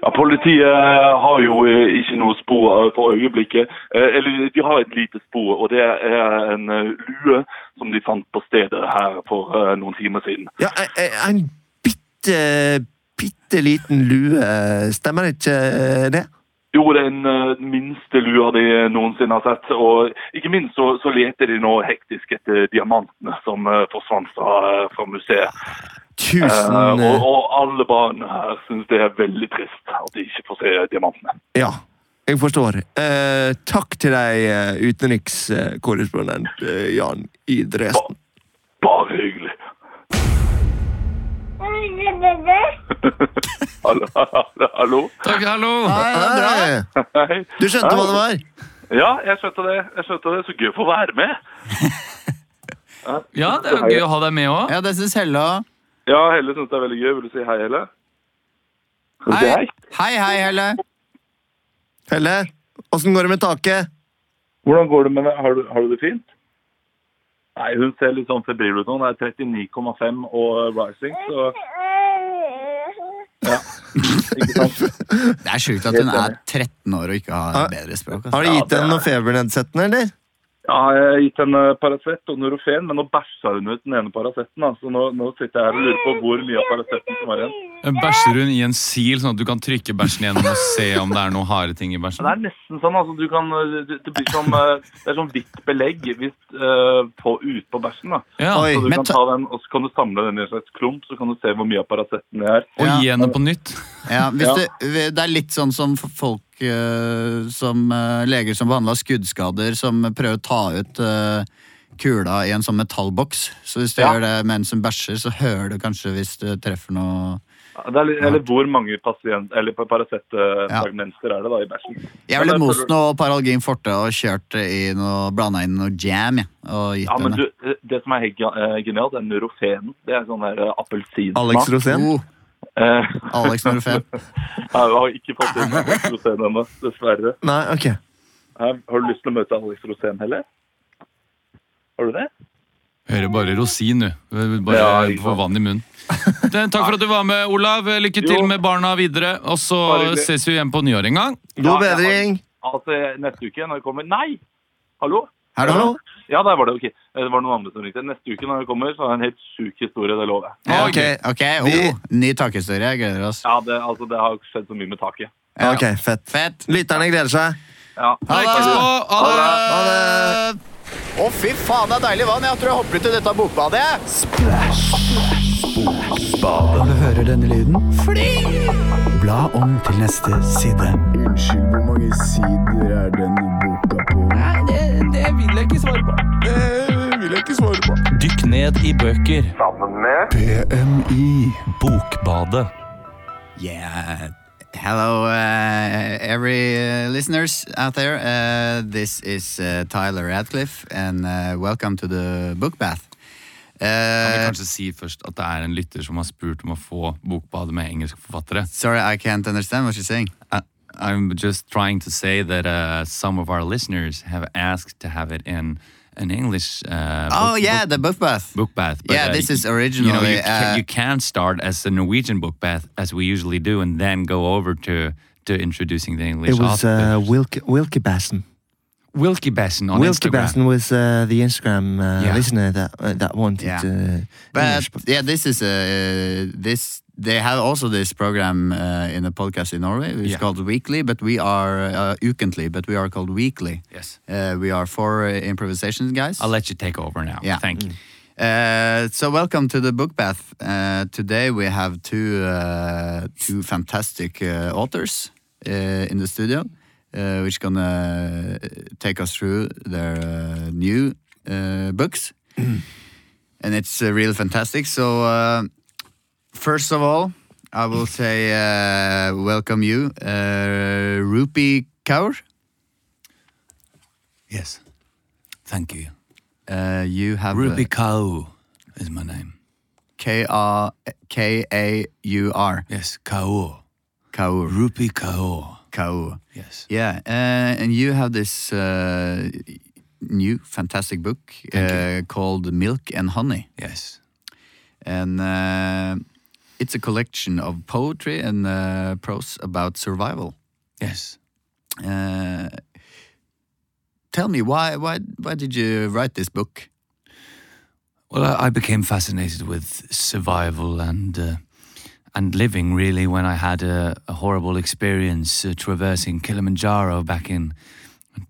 I: Ja, Politiet har jo eh, ikke noe spor eh, for øyeblikket. Eh, Eller de har et lite spor, og det er en eh, lue som de fant på stedet her for eh, noen timer siden.
B: Ja, eh, eh, en bitte, bitte liten lue. Stemmer ikke eh, det?
I: Jo, det er den eh, minste lua de noensinne har sett. Og ikke minst så, så leter de nå hektisk etter diamantene som eh, forsvant fra, eh, fra museet. Eh,
B: Tusen
I: og,
B: eh,
I: og alle barna her syns det er veldig trist at de ikke får se diamantene.
B: Ja. Jeg forstår. Eh, takk til deg, eh, utenrikskorrespondent eh, Jan i Dresden.
I: Bare hyggelig. Hallo? Hallo?
A: Takk, hallo!
B: Hei.
I: Hei.
B: Eh, Du skjønte hva det var?
I: Ja, jeg skjønte det. Jeg skjønte det. Så gøy å få være med.
A: Ja, det er jo gøy å ha deg med òg.
C: Ja, det syns Helle òg.
I: Ja, Helle syns det er veldig gøy. Vil du si hei, Helle? Vil du si
C: Hei. hei, hei, Helle.
B: Helle, åssen går det med taket?
I: Hvordan går det med deg? Har du, har du det fint? Nei, hun ser litt sånn febril ut nå. Det er 39,5 og rising, så ikke sant?
C: Det er sjukt at hun er 13 år og ikke har bedre språk.
B: Har
C: Altså.
B: du gitt henne noe febernedsettende, eller?
I: Ja, jeg har gitt henne Paracet og Nurofen, men nå bæsja hun ut den ene Paraceten. da. Så nå, nå sitter jeg her og lurer på hvor mye av Paraceten som er igjen.
A: Bæsjer hun i en sil, sånn at du kan trykke bæsjen igjennom og se om det er noen harde ting i bæsjen?
I: Det er nesten sånn, altså. Du kan Det, det blir som eh, Det er sånn hvitt belegg hvis, eh, på, utpå bæsjen, da.
A: Ja,
B: Oi.
I: Så du
C: Men
I: kan
C: ta-
I: ta den, og så kan du samle den i en slags klump, så kan du se hvor mye av Paraceten det er.
A: Og
C: Ja.
A: gi henne på nytt.
C: Ja, hvis
I: Ja.
C: Det, det er litt sånn som folk eh, som eh, leger som behandler skuddskader, som prøver å ta ut eh, kula i en sånn metallboks. Så hvis du
I: Ja.
C: gjør det mens hun bæsjer, så hører du kanskje hvis du treffer noe
I: Ja, Det er, litt- eller hvor mange pasient, eller Paracet-fragmenter er det da i bæsjen?
C: Jeg ville
I: Men
C: most
I: jeg føler-
C: noe Paralgin Forte og kjørt i noe Blanda inn noe jam, jeg. Og gitt
I: Ja, men
C: henne.
I: du, det som er helt ge- eh, genialt, er Nurofen. Det er sånn der eh, appelsinsmak.
B: Alex Rosén?
C: Oh,
I: Eh,
C: Alex Norfen.
I: jeg har ikke fått inn Alex Rosén ennå, dessverre.
B: Nei, ok.
I: Eh, Har du lyst til å møte Alex Rosén heller? Har du det?
A: Hører bare rosin, du. Bare
I: Ja, ikke
A: få
I: sant.
A: vann i munnen. Det- Takk for at du var med, Olav. Lykke til
I: Jo.
A: med barna videre. Og
I: Bare
A: så
I: hyggelig.
A: ses vi igjen på nyår en gang.
B: God
I: Ja, jeg har-
B: bedring.
I: Altså, neste uke når jeg kommer Nei! Hallo?
C: Hallo?
I: Ja, der var det. Ok. Eh, Det var noen andre som ringte. Neste uke når jeg kommer, så har jeg en helt sjuk historie, det lover jeg.
C: Ja,
A: Ok.
C: ok, ok.
B: Vi-
C: Oh, ny takhistorie. Jeg gleder oss.
I: Ja, det, altså, det har skjedd så mye med taket.
C: Ja.
B: Ok, fett.
C: Fett.
B: Lytterne gleder seg.
I: Ja.
A: Prekes på! Ha det!
C: Å, fy faen, det er deilig vann. Jeg tror jeg hopper ut i dette bokbadet.
D: Dykk ned i bøker. Sammen med BMI. Bokbadet.
C: Yeah. Hello, uh, every uh, listeners out there. Uh, this is uh, Tyler Radcliffe, and uh, welcome to the book bath.
A: Kan vi
C: Uh,
A: kanskje si først at det er en lytter som har spurt om å få Bokbadet med engelske forfattere?
C: sorry, I can't understand what you're saying.
A: I- I'm just trying to say that uh, some of our listeners have asked to have it in an English uh,
C: Oh,
A: book-
C: yeah,
A: book-
C: the book bath.
A: book bath.
C: Yeah, this is
A: You, know,
C: originally,
A: you,
C: uh,
A: can, you can start as a Norwegian book bath, as we usually do, and then go over to to introducing the English.
B: It was
A: author.
B: uh, Wilke, Wilke Basson.
A: Wilkie Besson on
B: Wilke
A: Instagram.
B: Basson was uh, the Instagram uh,
A: Yeah.
B: listener that uh, that wanted
C: Yeah.
B: uh,
C: But
B: English.
C: yeah, this is uh, this. They have also this program uh, in the podcast in Norway. It's
A: Yeah.
C: called Weekly, but we are uh, Ukentlig, but we are called Weekly.
A: Yes,
C: Uh, we are four uh, improvisations guys.
A: I'll let you take over now.
C: Yeah.
A: Thank you.
C: Uh, so welcome to the book bath. Uh, today we have two uh, two fantastic uh, authors uh, in the studio, uh, which gonna uh, take us through their uh, new uh, books, and it's uh, really fantastic. So uh, first of all, I will say uh, welcome you, uh, Rupi Kaur.
A: Yes, thank you.
C: Uh, you have
A: Ruby Kao is my name.
C: K R K-A-U-R.
A: Yes, Kao.
C: Kaur.
A: Rupee Kao.
C: Kaur.
A: Yes.
C: Yeah, uh, and you have this uh, new fantastic book uh, called Milk and Honey,
A: Yes.
C: and uh, it's a collection of poetry and uh, prose about survival.
A: Yes.
C: Uh, tell me why why why did you write this book?
A: Well, I, I became fascinated with survival and uh, and living really when I had a, a horrible experience uh, traversing Kilimanjaro back in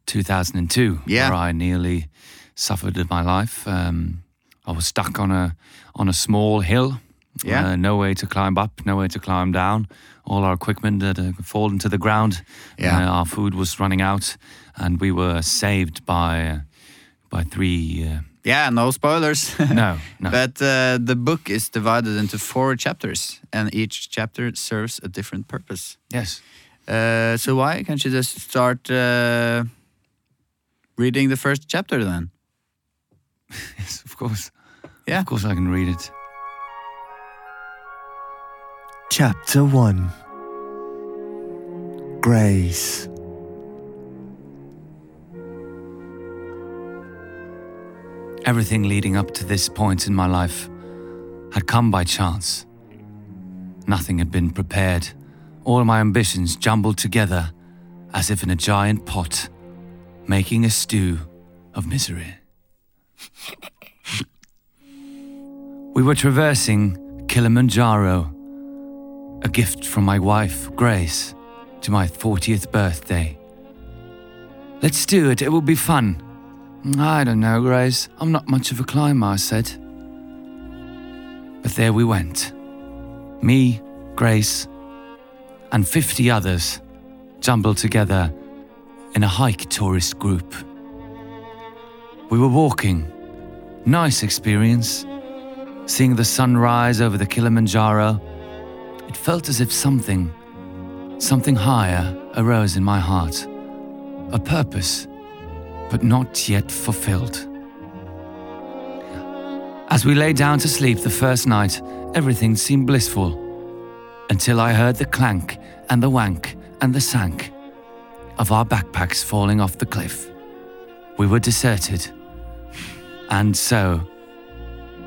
A: 2002,
C: Yeah.
A: where I nearly suffered with my life. Um, I was stuck on a on a small hill.
C: Yeah.
A: Uh, no way to climb up, no way to climb down. All our equipment had uh, fallen to the ground.
C: Yeah.
A: Uh, our food was running out, and we were saved by uh, by three. Uh,
C: Yeah, no spoilers.
A: no, no.
C: But uh, the book is divided into four chapters, and each chapter serves a different purpose.
A: yes.
C: Uh, so why can't you just start uh, reading the first chapter then?
A: Yes, of course.
C: Yeah.
A: Of course I can read it.
B: Chapter 1 Grace.
A: Everything leading up to this point in my life had come by chance. Nothing had been prepared. All my ambitions jumbled together as if in a giant pot, making a stew of misery. we were traversing Kilimanjaro, a gift from my wife, Grace, to my 40th birthday. Let's do it, it will be fun. I don't know, Grace. I'm not much of a climber, I said. But there we went. Me, Grace, and 50 others jumbled together in a hike tourist group. We were walking. Nice experience. Seeing the sunrise over the Kilimanjaro, it felt as if something, something higher arose in my heart. A purpose but not yet fulfilled. As we lay down to sleep the first night, everything seemed blissful until I heard the clank and the wank and the sank of our backpacks falling off the cliff. We were deserted, and so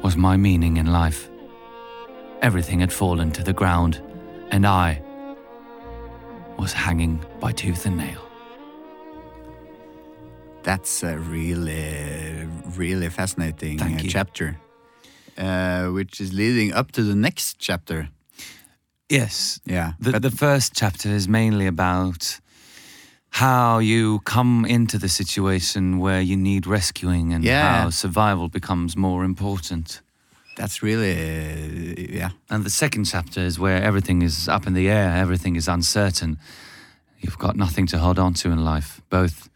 A: was my meaning in life. Everything had fallen to the ground, and I was hanging by tooth and nail.
C: That's a really, really fascinating
A: Thank
C: uh,
A: you.
C: chapter, uh, which is leading up to the next chapter.
A: Yes,
C: Yeah,
A: The,
C: but
A: the first chapter is mainly about how you come into the situation where you need rescuing and
C: Yeah.
A: how survival becomes more important.
C: that's really, uh, yeah,
A: And the second chapter is where everything is up in the air, everything is uncertain. You've got nothing to hold on to in life, both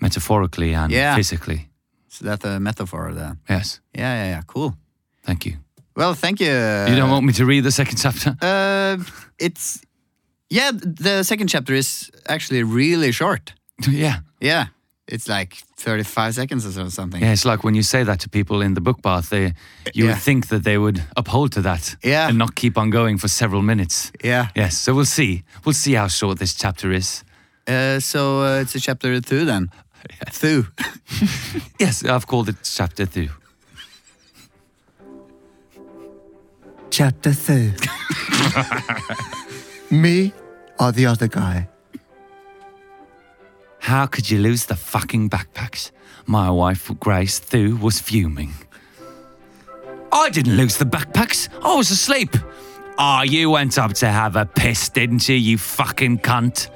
A: metaphorically and
C: Yeah.
A: physically.
C: so that's a metaphor then.
A: Yes,
C: Yeah, yeah, yeah, cool.
A: thank you.
C: Well, thank you.
A: you don't want me to read the second chapter?
C: Uh, it's yeah. The second chapter is actually really short.
A: yeah.
C: Yeah, it's like thirty-five seconds or so- something.
A: Yeah, it's like when you say that to people in the book bath, they, you
C: Yeah.
A: would think that they would uphold to that
C: Yeah.
A: and not keep on going for several minutes.
C: Yeah.
A: Yes, so we'll see. We'll see how short this chapter is.
C: Uh, so uh, it's a chapter two then. Two.
A: Yes, I've called it chapter two.
B: Chapter 2 Me or the other guy?
A: How could you lose the fucking backpacks? My wife, Grace Thew, was fuming. I didn't lose the backpacks. I was asleep. Ah, you went up to have a piss, didn't you, you fucking cunt?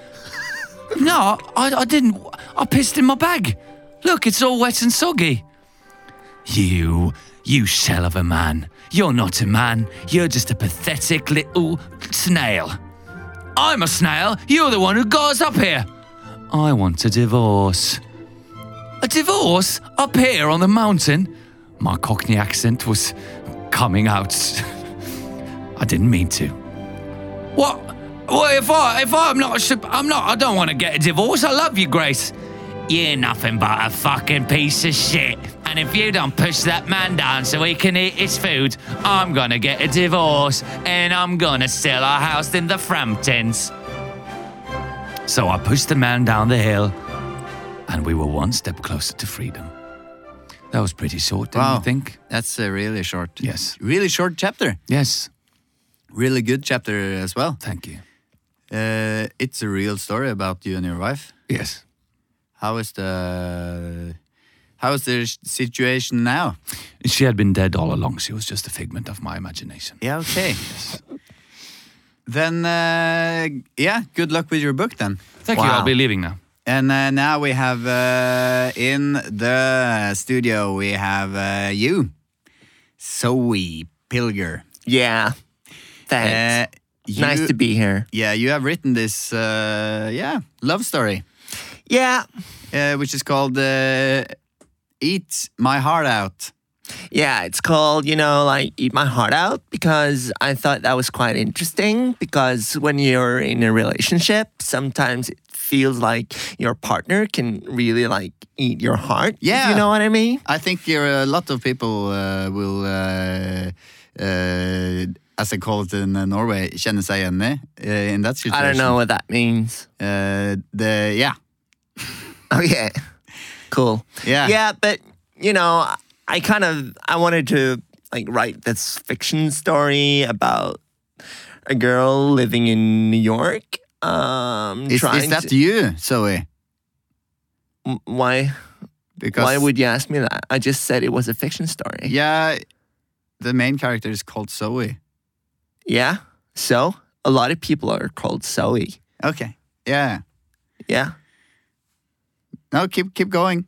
A: no, I, I didn't. I pissed in my bag. Look, it's all wet and soggy. You, you shell of a man. You're not a man. You're just a pathetic little snail. I'm a snail. You're the one who got us up here. I want a divorce. A divorce? Up here on the mountain? My Cockney accent was coming out. I didn't mean to. What? Well, if I if I'm not a sup- I'm not I don't want to get a divorce. I love you, Grace.
J: You're nothing but a fucking piece of shit. And if you don't push that man down so he can eat his food, I'm gonna get a divorce and I'm gonna sell our house in the Framptons. So I pushed the man down the hill and we were one step closer to freedom. That was pretty short, didn't
C: Wow.
J: you think?
C: That's a really short.
J: Yes.
C: Really short chapter.
J: Yes.
C: Really good chapter as well.
J: Thank you.
C: Uh, it's a real story about you and your wife.
J: Yes.
C: How is the how is the situation now?
J: She had been dead all along. She was just a figment of my imagination.
C: Yeah, okay. Then uh, yeah, good luck with your book then.
J: Thank you. I'll be leaving now.
C: And uh, now we have uh, in the studio we have uh, you, Zoe Pilger.
B: Yeah. Thanks.
C: Uh, you-
B: nice to be here.
C: Yeah, you have written this uh, yeah love story,
B: Yeah.
C: uh, which is called uh, "Eat My Heart Out."
B: Yeah, it's called, you know, like Eat My Heart Out because I thought that was quite interesting. Because when you're in a relationship, sometimes it feels like your partner can really like eat your heart. if
C: Yeah.
B: You know what I mean?
C: I think here a lot of people uh, will, uh, uh, as they call it in uh, Norway, kjenne seg igjen i uh, in that situation.
B: I don't know what that means.
C: Uh, the yeah,
B: Okay. Cool.
C: Yeah.
B: Yeah, but you know, I kind of I wanted to like write this fiction story about a girl living in New York. Um
C: is,
B: trying
C: is that
B: to,
C: you, Zoe?
B: M- why
C: Because
B: why would you ask me that? I just said it was a fiction story.
C: yeah, the main character is called Zoe.
B: Yeah? So a lot of people are called Zoe.
C: Okay, yeah.
B: Yeah.
C: No, keep keep going.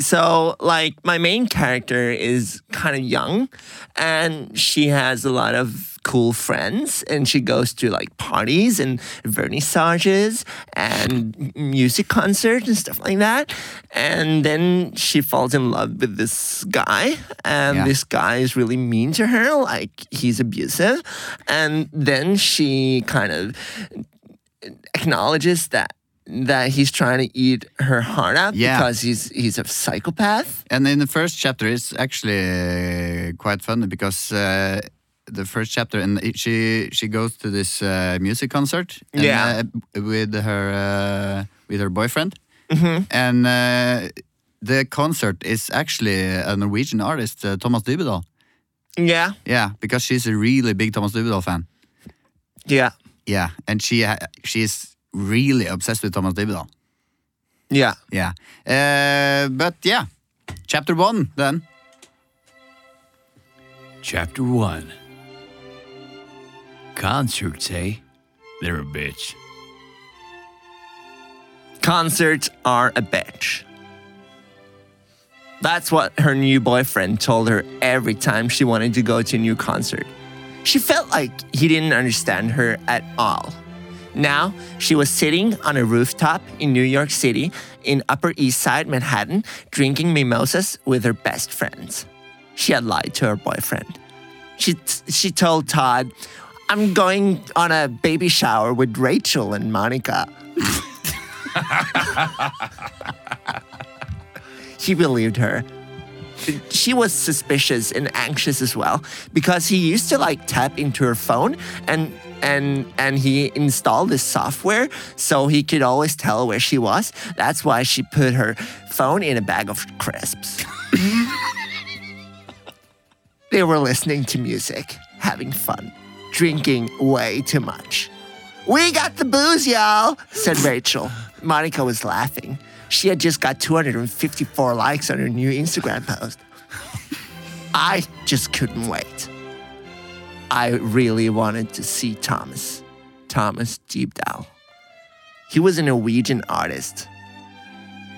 B: So, like, my main character is kind of young and she has a lot of cool friends and she goes to like parties and vernissages and m- music concerts and stuff like that. And then she falls in love with this guy and
C: Yeah.
B: this guy is really mean to her, like, he's abusive. And then she kind of acknowledges that. That he's trying to eat her heart out
C: Yeah.
B: because he's he's a psychopath.
C: And in the first chapter, it's actually uh, quite funny because uh, the first chapter, and it- she she goes to this uh, music concert, and,
B: Yeah.
C: uh, with her uh, with her boyfriend, and uh, the concert is actually a Norwegian artist, uh, Thomas Dybdahl.
B: Yeah,
C: Yeah, because she's a really big Thomas Dybdahl fan.
B: yeah,
C: Yeah, and she ha- she is really obsessed with Thomas Dybdahl.
B: yeah.
C: Yeah, uh, but yeah, chapter one then.
J: Chapter 1 Concerts, eh? They're a bitch.
B: Concerts are a bitch. That's what her new boyfriend told her every time she wanted to go to a new concert. She felt like he didn't understand her at all. Now, she was sitting on a rooftop in New York City in Upper East Side Manhattan drinking mimosas with her best friends. She had lied to her boyfriend. She, she told Todd, I'm going on a baby shower with Rachel and Monica. He believed her. She was suspicious and anxious as well because he used to like tap into her phone and and and he installed this software so he could always tell where she was. That's why she put her phone in a bag of crisps. they were listening to music, having fun, drinking way too much. We got the booze, y'all, said Rachel. Monica was laughing. She had just got 254 likes on her new Instagram post. I just couldn't wait. I really wanted to see Thomas, Thomas Deepdow. He was a Norwegian artist.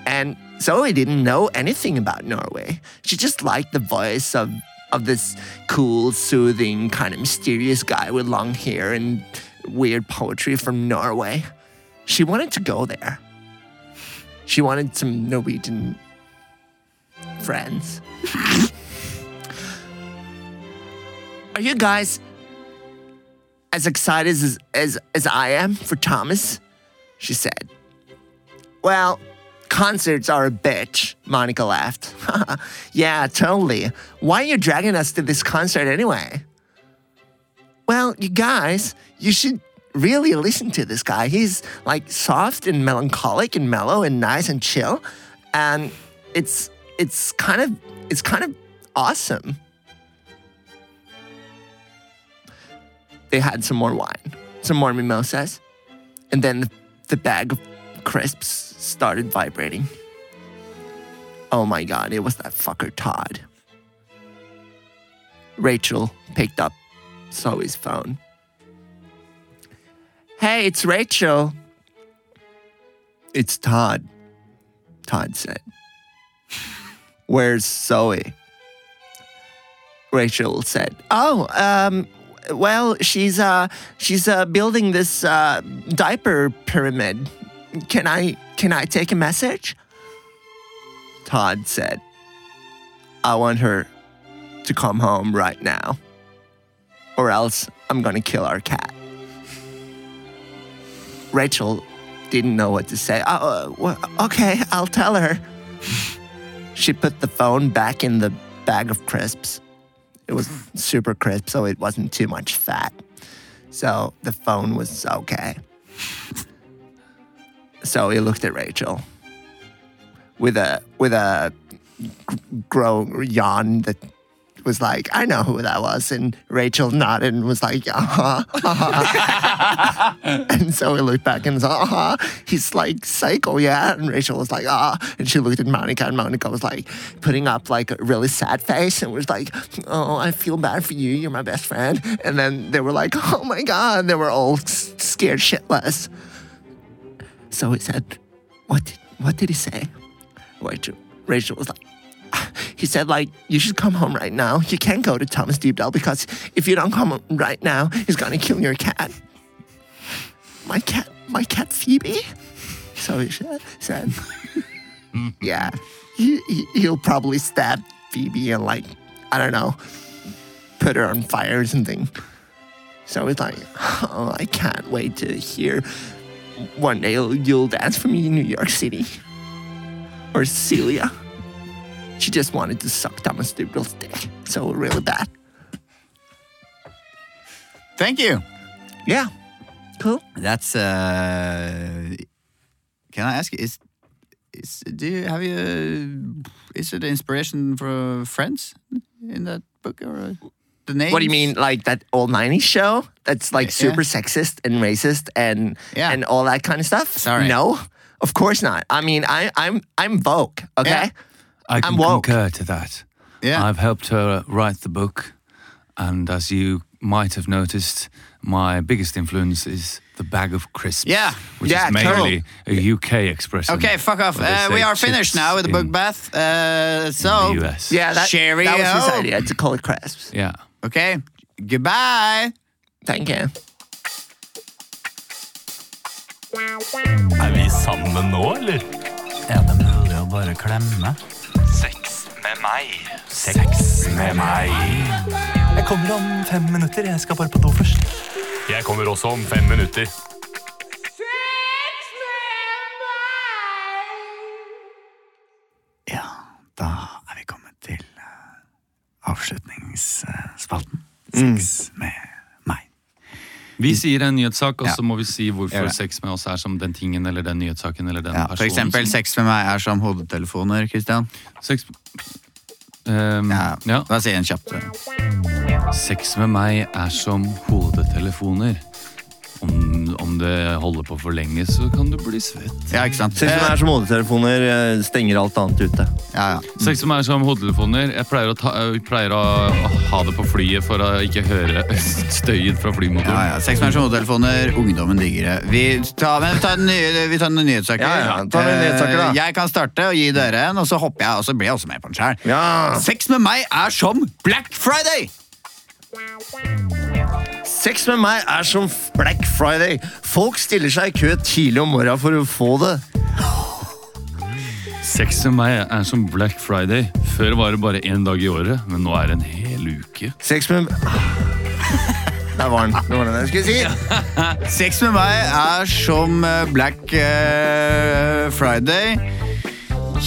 B: And Zoe didn't know anything about Norway. She just liked the voice of, of this cool, soothing, kind of mysterious guy with long hair and weird poetry from Norway. She wanted to go there. She wanted some Norwegian friends. Are you guys as excited as, as, as I am for Thomas? She said. Well, Concerts are a bitch, Monica laughed. yeah, totally. Why are you dragging us to this concert anyway? Well, you guys, you should really listen to this guy. He's like soft and melancholic and mellow and nice and chill. And it's it's kind of it's kind of awesome. They had some more wine, some more mimosas, and then the, the bag of crisps started vibrating. Oh my god, it was that fucker Todd. Rachel picked up Zoe's phone. Hey, it's Rachel. It's Todd, Todd said. Where's Zoe? Rachel said. Oh, um, well, she's uh, she's uh, building this uh, diaper pyramid. Can I can I take a message? Todd said. I want her to come home right now, or else I'm gonna kill our cat. Rachel didn't know what to say. Uh, uh, well, okay, I'll tell her. She put the phone back in the bag of crisps. It was super crisp, so it wasn't too much fat. So the phone was okay. So he looked at Rachel with a with a gr- grow yawn that was like, "I know who that was," and Rachel nodded and was like, "Uh-huh." And so we looked back and was like, ah, he's like psycho, yeah. And Rachel was like, ah. And she looked at Monica, and Monica was like putting up like a really sad face and was like, oh, I feel bad for you. You're my best friend. And then they were like, oh my God. They were all s- scared shitless. So he said, what did, what did he say? Rachel, Rachel was like, "Ah," he said, like, you should come home right now. You can't go to Thomas Deepdale because if you don't come right now, he's gonna kill your cat my cat, my cat Phoebe. So he sa- said, yeah, he, he- he'll probably stab Phoebe and like, I don't know, put her on fire or something. So he's like, oh, I can't wait to hear one day you'll, you'll dance for me in New York City. Or Celia. She just wanted to suck Thomas Doodle's dick so really bad.
C: Thank you.
B: Yeah. Cool.
C: That's uh, can I ask? Is is do you have you? Is it inspiration for Friends in that book or uh, the name?
B: What do you mean, like that old '90s show that's like super sexist and racist and
C: Yeah.
B: and all that kind of stuff?
C: Sorry.
B: no, of course not. I mean, I, I'm I'm Vogue, okay?
C: Yeah.
D: I can
B: I'm woke.
D: concur to that.
C: Yeah.
D: I've helped her write the book, and as you might have noticed, my biggest influence is the bag of crisps.
C: Yeah.
D: which
B: Yeah,
D: is mainly a UK expression.
C: Okay, fuck off.
D: where they
C: Uh,
D: say
C: we are finished
D: chips
C: now with the book
D: in-
C: bath. Uh, so
D: in the US.
B: Yeah, that,
C: Cheerio.
B: that was his idea to call it crisps.
D: Yeah.
C: Okay, goodbye.
B: Thank you.
D: Er vi sammen nå, eller?
C: Ja, det er mulig å bare klemme.
D: Sex med meg. Sex, med meg. Jeg kommer om fem minutter. Jeg skal bare på do først. Jeg kommer også om fem minutter.
C: Ja, da er vi kommet til eh,
B: uh,
C: avslutningsspalten. Sex med meg.
A: Vi sier en nyhetssak, og
C: Ja.
A: så må vi si
C: Gjør
A: hvorfor
C: det.
A: sex med oss er som den tingen eller den nyhetssaken eller den
C: Ja,
A: personen.
C: for eksempel sex med meg er som hodetelefoner, Kristian.
A: Sex... Ehm,
C: Ja,
A: ja.
C: Da sier jeg en kjapt.
A: Sex med meg er som hodetelefoner. Om, om det holder på for lenge, så kan du bli svett.
C: Ja, ikke sant?
B: Syns du det er som hodetelefoner eh, stenger alt annet ute?
C: Ja, ja.
A: Sex med meg er som hodetelefoner. Jeg pleier å, ta, jeg pleier å, å ha det på flyet for å ikke høre støyen fra
C: Ja,
A: flymotoren.
C: ja. Sex med hodetelefoner, ungdommen digger det. Vi tar, men vi tar en, ny, vi tar en nyhetssak.
B: Ja, ja, ta en nyhetssak, da.
C: Eh, Jeg kan starte og gi dere en, og så hopper jeg, og så blir jeg også med på den sjøl.
B: Ja.
C: Sex med meg er som Black Friday!
B: Sex med meg er som Black Friday. Folk stiller seg i kø tidlig om morgenen for å få det.
A: Sex med meg er som Black Friday. Før var det bare én dag i året, men nå er det en hel uke.
B: Sex med Ah. Der var den. Det var den jeg skulle si.
C: Sex med meg er som eh, Black eh, Friday.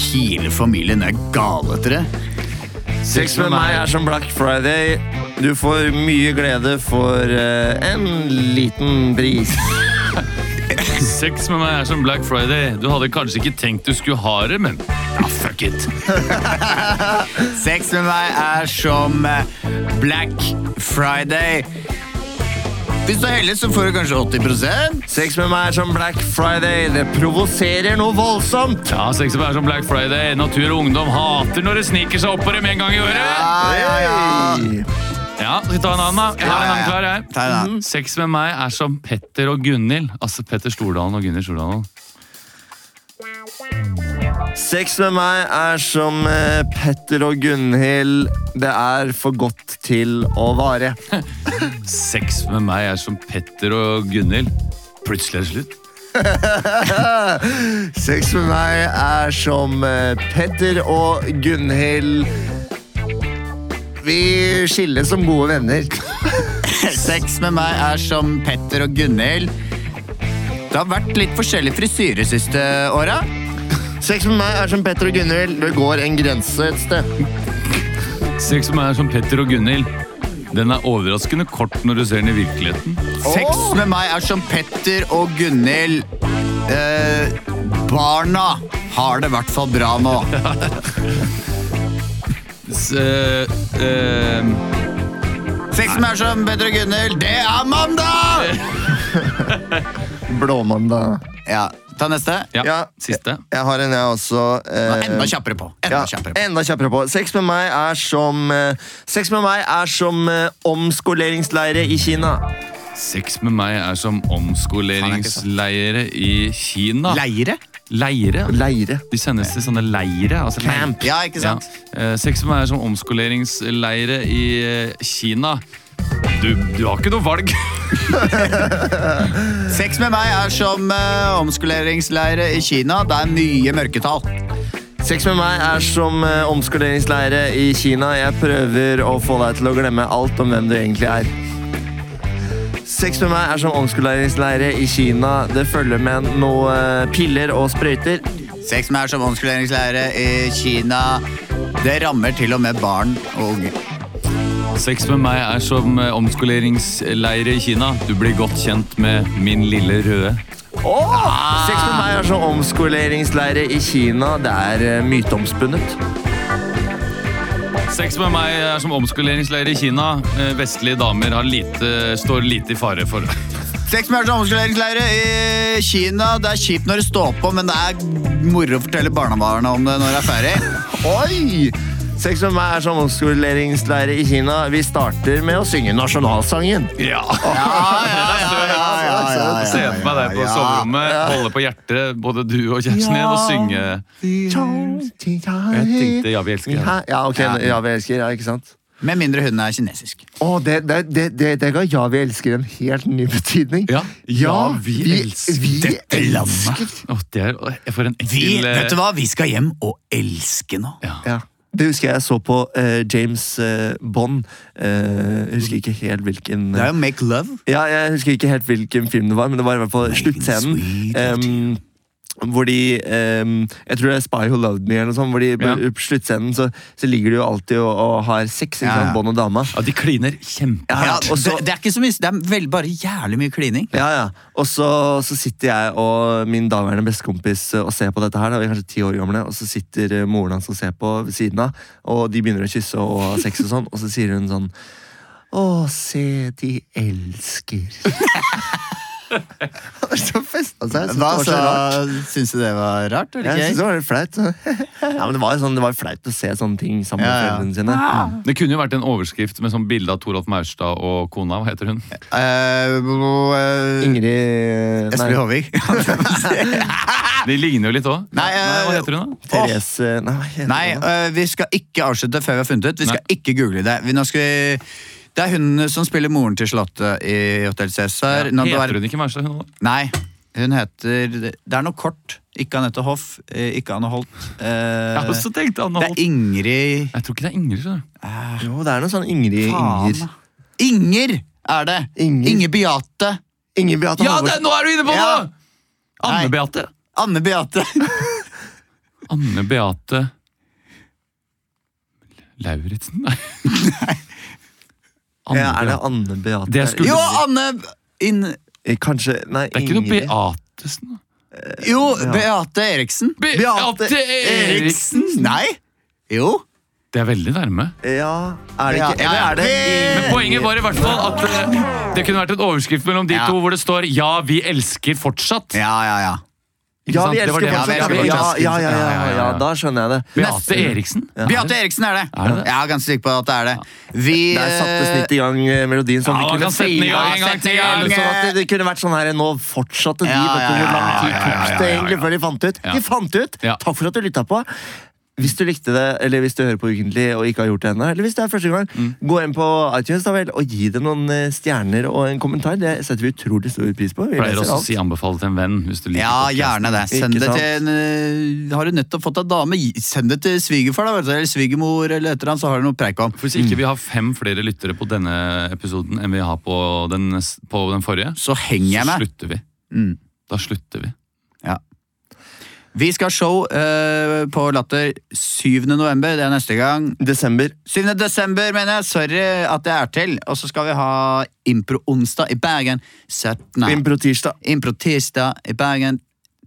C: Hele familien er gale etter det.
B: Sex med meg er som Black Friday. Du får mye glede for eh, en liten pris.
A: Sex med meg er som Black Friday. Du hadde kanskje ikke tenkt du skulle ha det, men ja, fuck it.
C: Sex med meg er som eh, Black Friday. Hvis du er heldig, så får du kanskje 80
B: Sex med meg er som Black Friday. Det provoserer noe voldsomt.
A: Ja, sex med meg er som Black Friday. Natur og ungdom hater når det sniker seg opp på dem en gang i året.
B: Hey.
A: Ja, skal vi ta en annen, da? Jeg har en annen klar, jeg.
C: Ta en annen.
A: Sex med meg er som Petter og Gunhild. Altså Petter Stordalen og Gunhild Stordalen.
B: Sex med meg er som eh, Petter og Gunhild. Det er for godt til å vare.
A: Sex med meg er som Petter og Gunhild. Plutselig er det slutt.
B: Sex med meg er som eh, Petter og Gunhild. Vi skilles som gode venner.
C: Sex med meg er som Petter og Gunhild. Det har vært litt forskjellig frisyre siste åra.
B: Sex med meg er som Petter og Gunhild. Det går en grense et sted.
A: Sex med meg er som Petter og Gunhild. Den er overraskende kort når du ser den i virkeligheten.
C: Sex med meg er som Petter og Gunhild. Eh, barna har det i hvert fall bra nå.
A: S eh, eh,
C: Sex med meg er som Petter og Gunhild. Det er mandag!
B: Blåmandag.
C: Ja, Ta neste.
A: ja,
B: Ja.
A: siste.
B: Jeg har en, jeg også. eh,
C: Enda kjappere på. Enda
B: ja,
C: kjappere på.
B: enda kjappere på. Sex med meg er som eh, Sex med meg er som eh, omskoleringsleire i Kina.
A: Sex med meg er som omskoleringsleire i Kina.
C: Leire?
A: Leire?
B: Leire.
A: De sendes til sånne leire. Altså leir-
B: Camp.
C: Ja, ikke sant?
A: Ja. Eh, Sex med meg er som omskoleringsleire i eh, Kina. Du, du har ikke noe valg.
C: Sex med meg er som eh, omskoleringsleire i Kina. Det er mye mørketall.
B: Sex med meg er som eh, omskoleringsleire i Kina. Jeg prøver å få deg til å glemme alt om hvem du egentlig er. Sex med meg er som omskoleringsleire i Kina. Det følger med noe eh, piller og sprøyter.
C: Sex med meg er som omskoleringsleire i Kina. Det rammer til og med barn og unge.
A: Sex med meg er som eh, omskoleringsleire i Kina. Du blir godt kjent med min lille røde.
B: Sex med meg er som omskoleringsleire i Kina. Det er eh, myteomspunnet.
A: Sex med meg er som omskoleringsleire i Kina. Eh, Vestlige damer har lite, står lite i fare for
C: Sex med meg er som omskoleringsleire i Kina. Det er kjipt når det står på, men det er moro å fortelle barnebarna om det når det er ferdig.
B: Oi! Sex med meg er som omskoleringsleire i Kina. Vi starter med å synge nasjonalsangen.
A: Ja!
C: ja, ja, ja,
A: Se for meg deg på
C: ja.
A: soverommet, holde på hjertet, både du og kjæresten din, og synge Jeg tenkte 'Ja, vi elsker deg'.
B: Ja, ok. Ja, vi elsker. Ja, ikke sant?
C: Med mindre hunden er kinesisk.
B: Å, det, det, det, det, det ga Ja, vi elsker en helt ny betydning.
A: Ja. Ja, vi elsker
B: vi
C: dette landet.
B: elsker.
A: Åh, det er, åh, jeg får en ekkel
C: Vi,
A: eh,
C: vet du hva? Vi skal hjem og elske nå.
B: Ja. Det husker jeg jeg så på eh, James eh, Bond. Eh, jeg husker ikke helt hvilken
C: Det er jo Make Love.
B: Ja, jeg husker ikke helt hvilken film det var, men det var i hvert fall sluttscenen.
C: sweet
B: ehm, hvor de ehm, Jeg tror det er Spy Who Loved Me, eller noe sånt. Hvor de,
A: Ja.
B: på sluttscenen så, så ligger de jo alltid og, og har sex, ikke
C: Ja,
B: sant?
C: ja.
B: Bond og dama.
A: ja, De kliner kjempe...
B: Ja, ja,
C: Ja,
B: og så,
C: det, det er ikke så mye, det er vel bare jævlig mye klining.
B: ja, ja. Og så, så sitter jeg og min daværende bestekompis eh, og ser på dette her, da, vi er kanskje ti år gamle, og så sitter eh, moren hans og ser på ved siden av, og de begynner å kysse og ha sex og sånn, og så sier hun sånn Å, se, de elsker. Han er så festa seg. Jeg synes det var så rart.
C: Syns du det var rart? eller
B: Jeg synes
C: ikke?
B: det var litt flaut. ja, men det var jo sånn, det var flaut å se sånne ting sammen med
C: Ja, ja.
B: foreldrene sine.
A: Det kunne jo vært en overskrift med sånn bilde av Toralf Maurstad og kona. Hva heter hun?
C: Eh, hvor, eh,
B: Ingrid
C: Esprid
B: Nei,
C: Håvik.
A: De ligner jo litt òg.
C: Nei, eh,
A: hva heter hun, da?
B: Therese Nei, hva heter
C: Nei,
B: hun da?
C: eh, vi skal ikke avslutte før vi har funnet ut. Vi skal ikke google det. Vi, nå skal vi, det er hun som spiller moren til Charlotte i Hotell Cæsar. Nå, det var-
A: Heter hun ikke Maurstad, hun òg?
C: Nei, hun heter Det er noe kort. Ikke Anette Hoff, eh, ikke Anne Holt. eh,
A: Jeg har også tenkt Anna
C: det er
A: altså, Holt.
C: Ingrid
A: Jeg tror ikke det er Ingrid. skjønner du.
B: Jo, det er noe sånn Ingrid
C: Faen,
B: Inger.
C: da. Inger er det!
B: Inger.
C: Inger Beate.
B: Inger Beate
A: Ja, det,
B: Halvorsen.
A: nå er du inne på det!
C: Ja.
A: Anne Beate.
C: Anne Beate.
A: Anne Beate Lauritzen? Nei. Anne
B: Ja, er det
A: Beate-
B: Anne Beate
A: Det skulle-
C: Jo, Anne inn,
B: Eh, Kanskje Nei,
A: det er ikke noe
B: Ingrid.
A: Beatesen? da.
C: Jo,
B: Ja.
C: Beate Eriksen.
A: Beate Eriksen!
C: Nei. Jo.
A: Det er veldig nærme.
B: Ja, er det
C: Ja,
B: ikke Eller
C: ja, ja.
B: er det
C: Men
A: Men poenget var i hvert fall at eh, det kunne vært en overskrift mellom de
C: Ja.
A: to hvor det står 'Ja, vi elsker fortsatt'.
C: Ja, ja, ja.
A: Ikke
B: Ja,
A: sant?
B: vi
A: Det
B: elsker
A: var det
C: fortsatt.
A: jeg
B: fortsatt.
A: skulle
B: Ja,
C: vi
B: ja,
A: si.
B: ja, ja,
A: Ja, ja,
B: ja,
A: ja,
B: ja,
A: ja.
B: da skjønner jeg det.
A: Beate Eriksen?
C: Beate Eriksen er det.
A: Er det det?
C: Jeg er ganske sikker på at det er det. Vi
B: Der satte snitt i gang eh, melodien som
A: Ja,
B: vi
A: man
B: kunne
A: kan sette den i
B: fire-
A: gang
C: Ja,
A: en gang
C: sette
A: til.
C: i gang.
A: ja, liksom.
B: Sånn at det kunne vært sånn her Nå fortsatte de.
C: Ja,
B: vet du
C: ja,
B: hvor lang
C: ja,
B: tid
C: ja, ja,
B: tok
C: ja,
B: det
C: ja,
B: egentlig før de fant ut?
A: Ja.
B: De fant ut!
A: Ja.
B: Takk for at du lytta på. Hvis du likte det, eller hvis du hører på Ukentlig og ikke har gjort det ennå, eller hvis det er første gang,
A: Mm.
B: gå inn på iTunes da vel, og gi det noen eh, stjerner og en kommentar. Det setter vi utrolig stor pris på. Vi
A: Jeg pleier
B: leser
A: også å
B: alt.
A: si 'anbefale til en venn' hvis du liker
C: Ja,
A: podcasten.
C: gjerne det. Send
B: Ikke
C: det
B: sant?
C: til en øh, Har du nettopp fått deg dame, gi- send det til svigerfar da, vet du, eller svigermor, eller et eller annet, så har du noe preik om.
A: Hvis ikke vi har fem flere lyttere på denne episoden enn vi har på den, nes- på den forrige,
C: Så henger
A: så
C: jeg med.
A: slutter vi.
C: Mm.
A: Da slutter vi.
C: Vi skal ha show øh, på Latter 7. november, det er neste gang.
B: Desember.
C: 7. desember, mener jeg. Sorry at jeg er til. Og så skal vi ha Impro-onsdag i Bergen. 17.
B: Impro-tirsdag.
C: Impro-tirsdag i Bergen.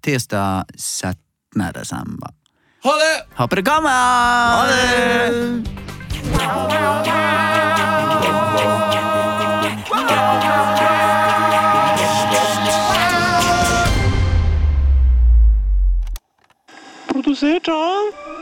C: Tirsdag 17. desember. Håper du kommer! Ha det!
F: Produsert av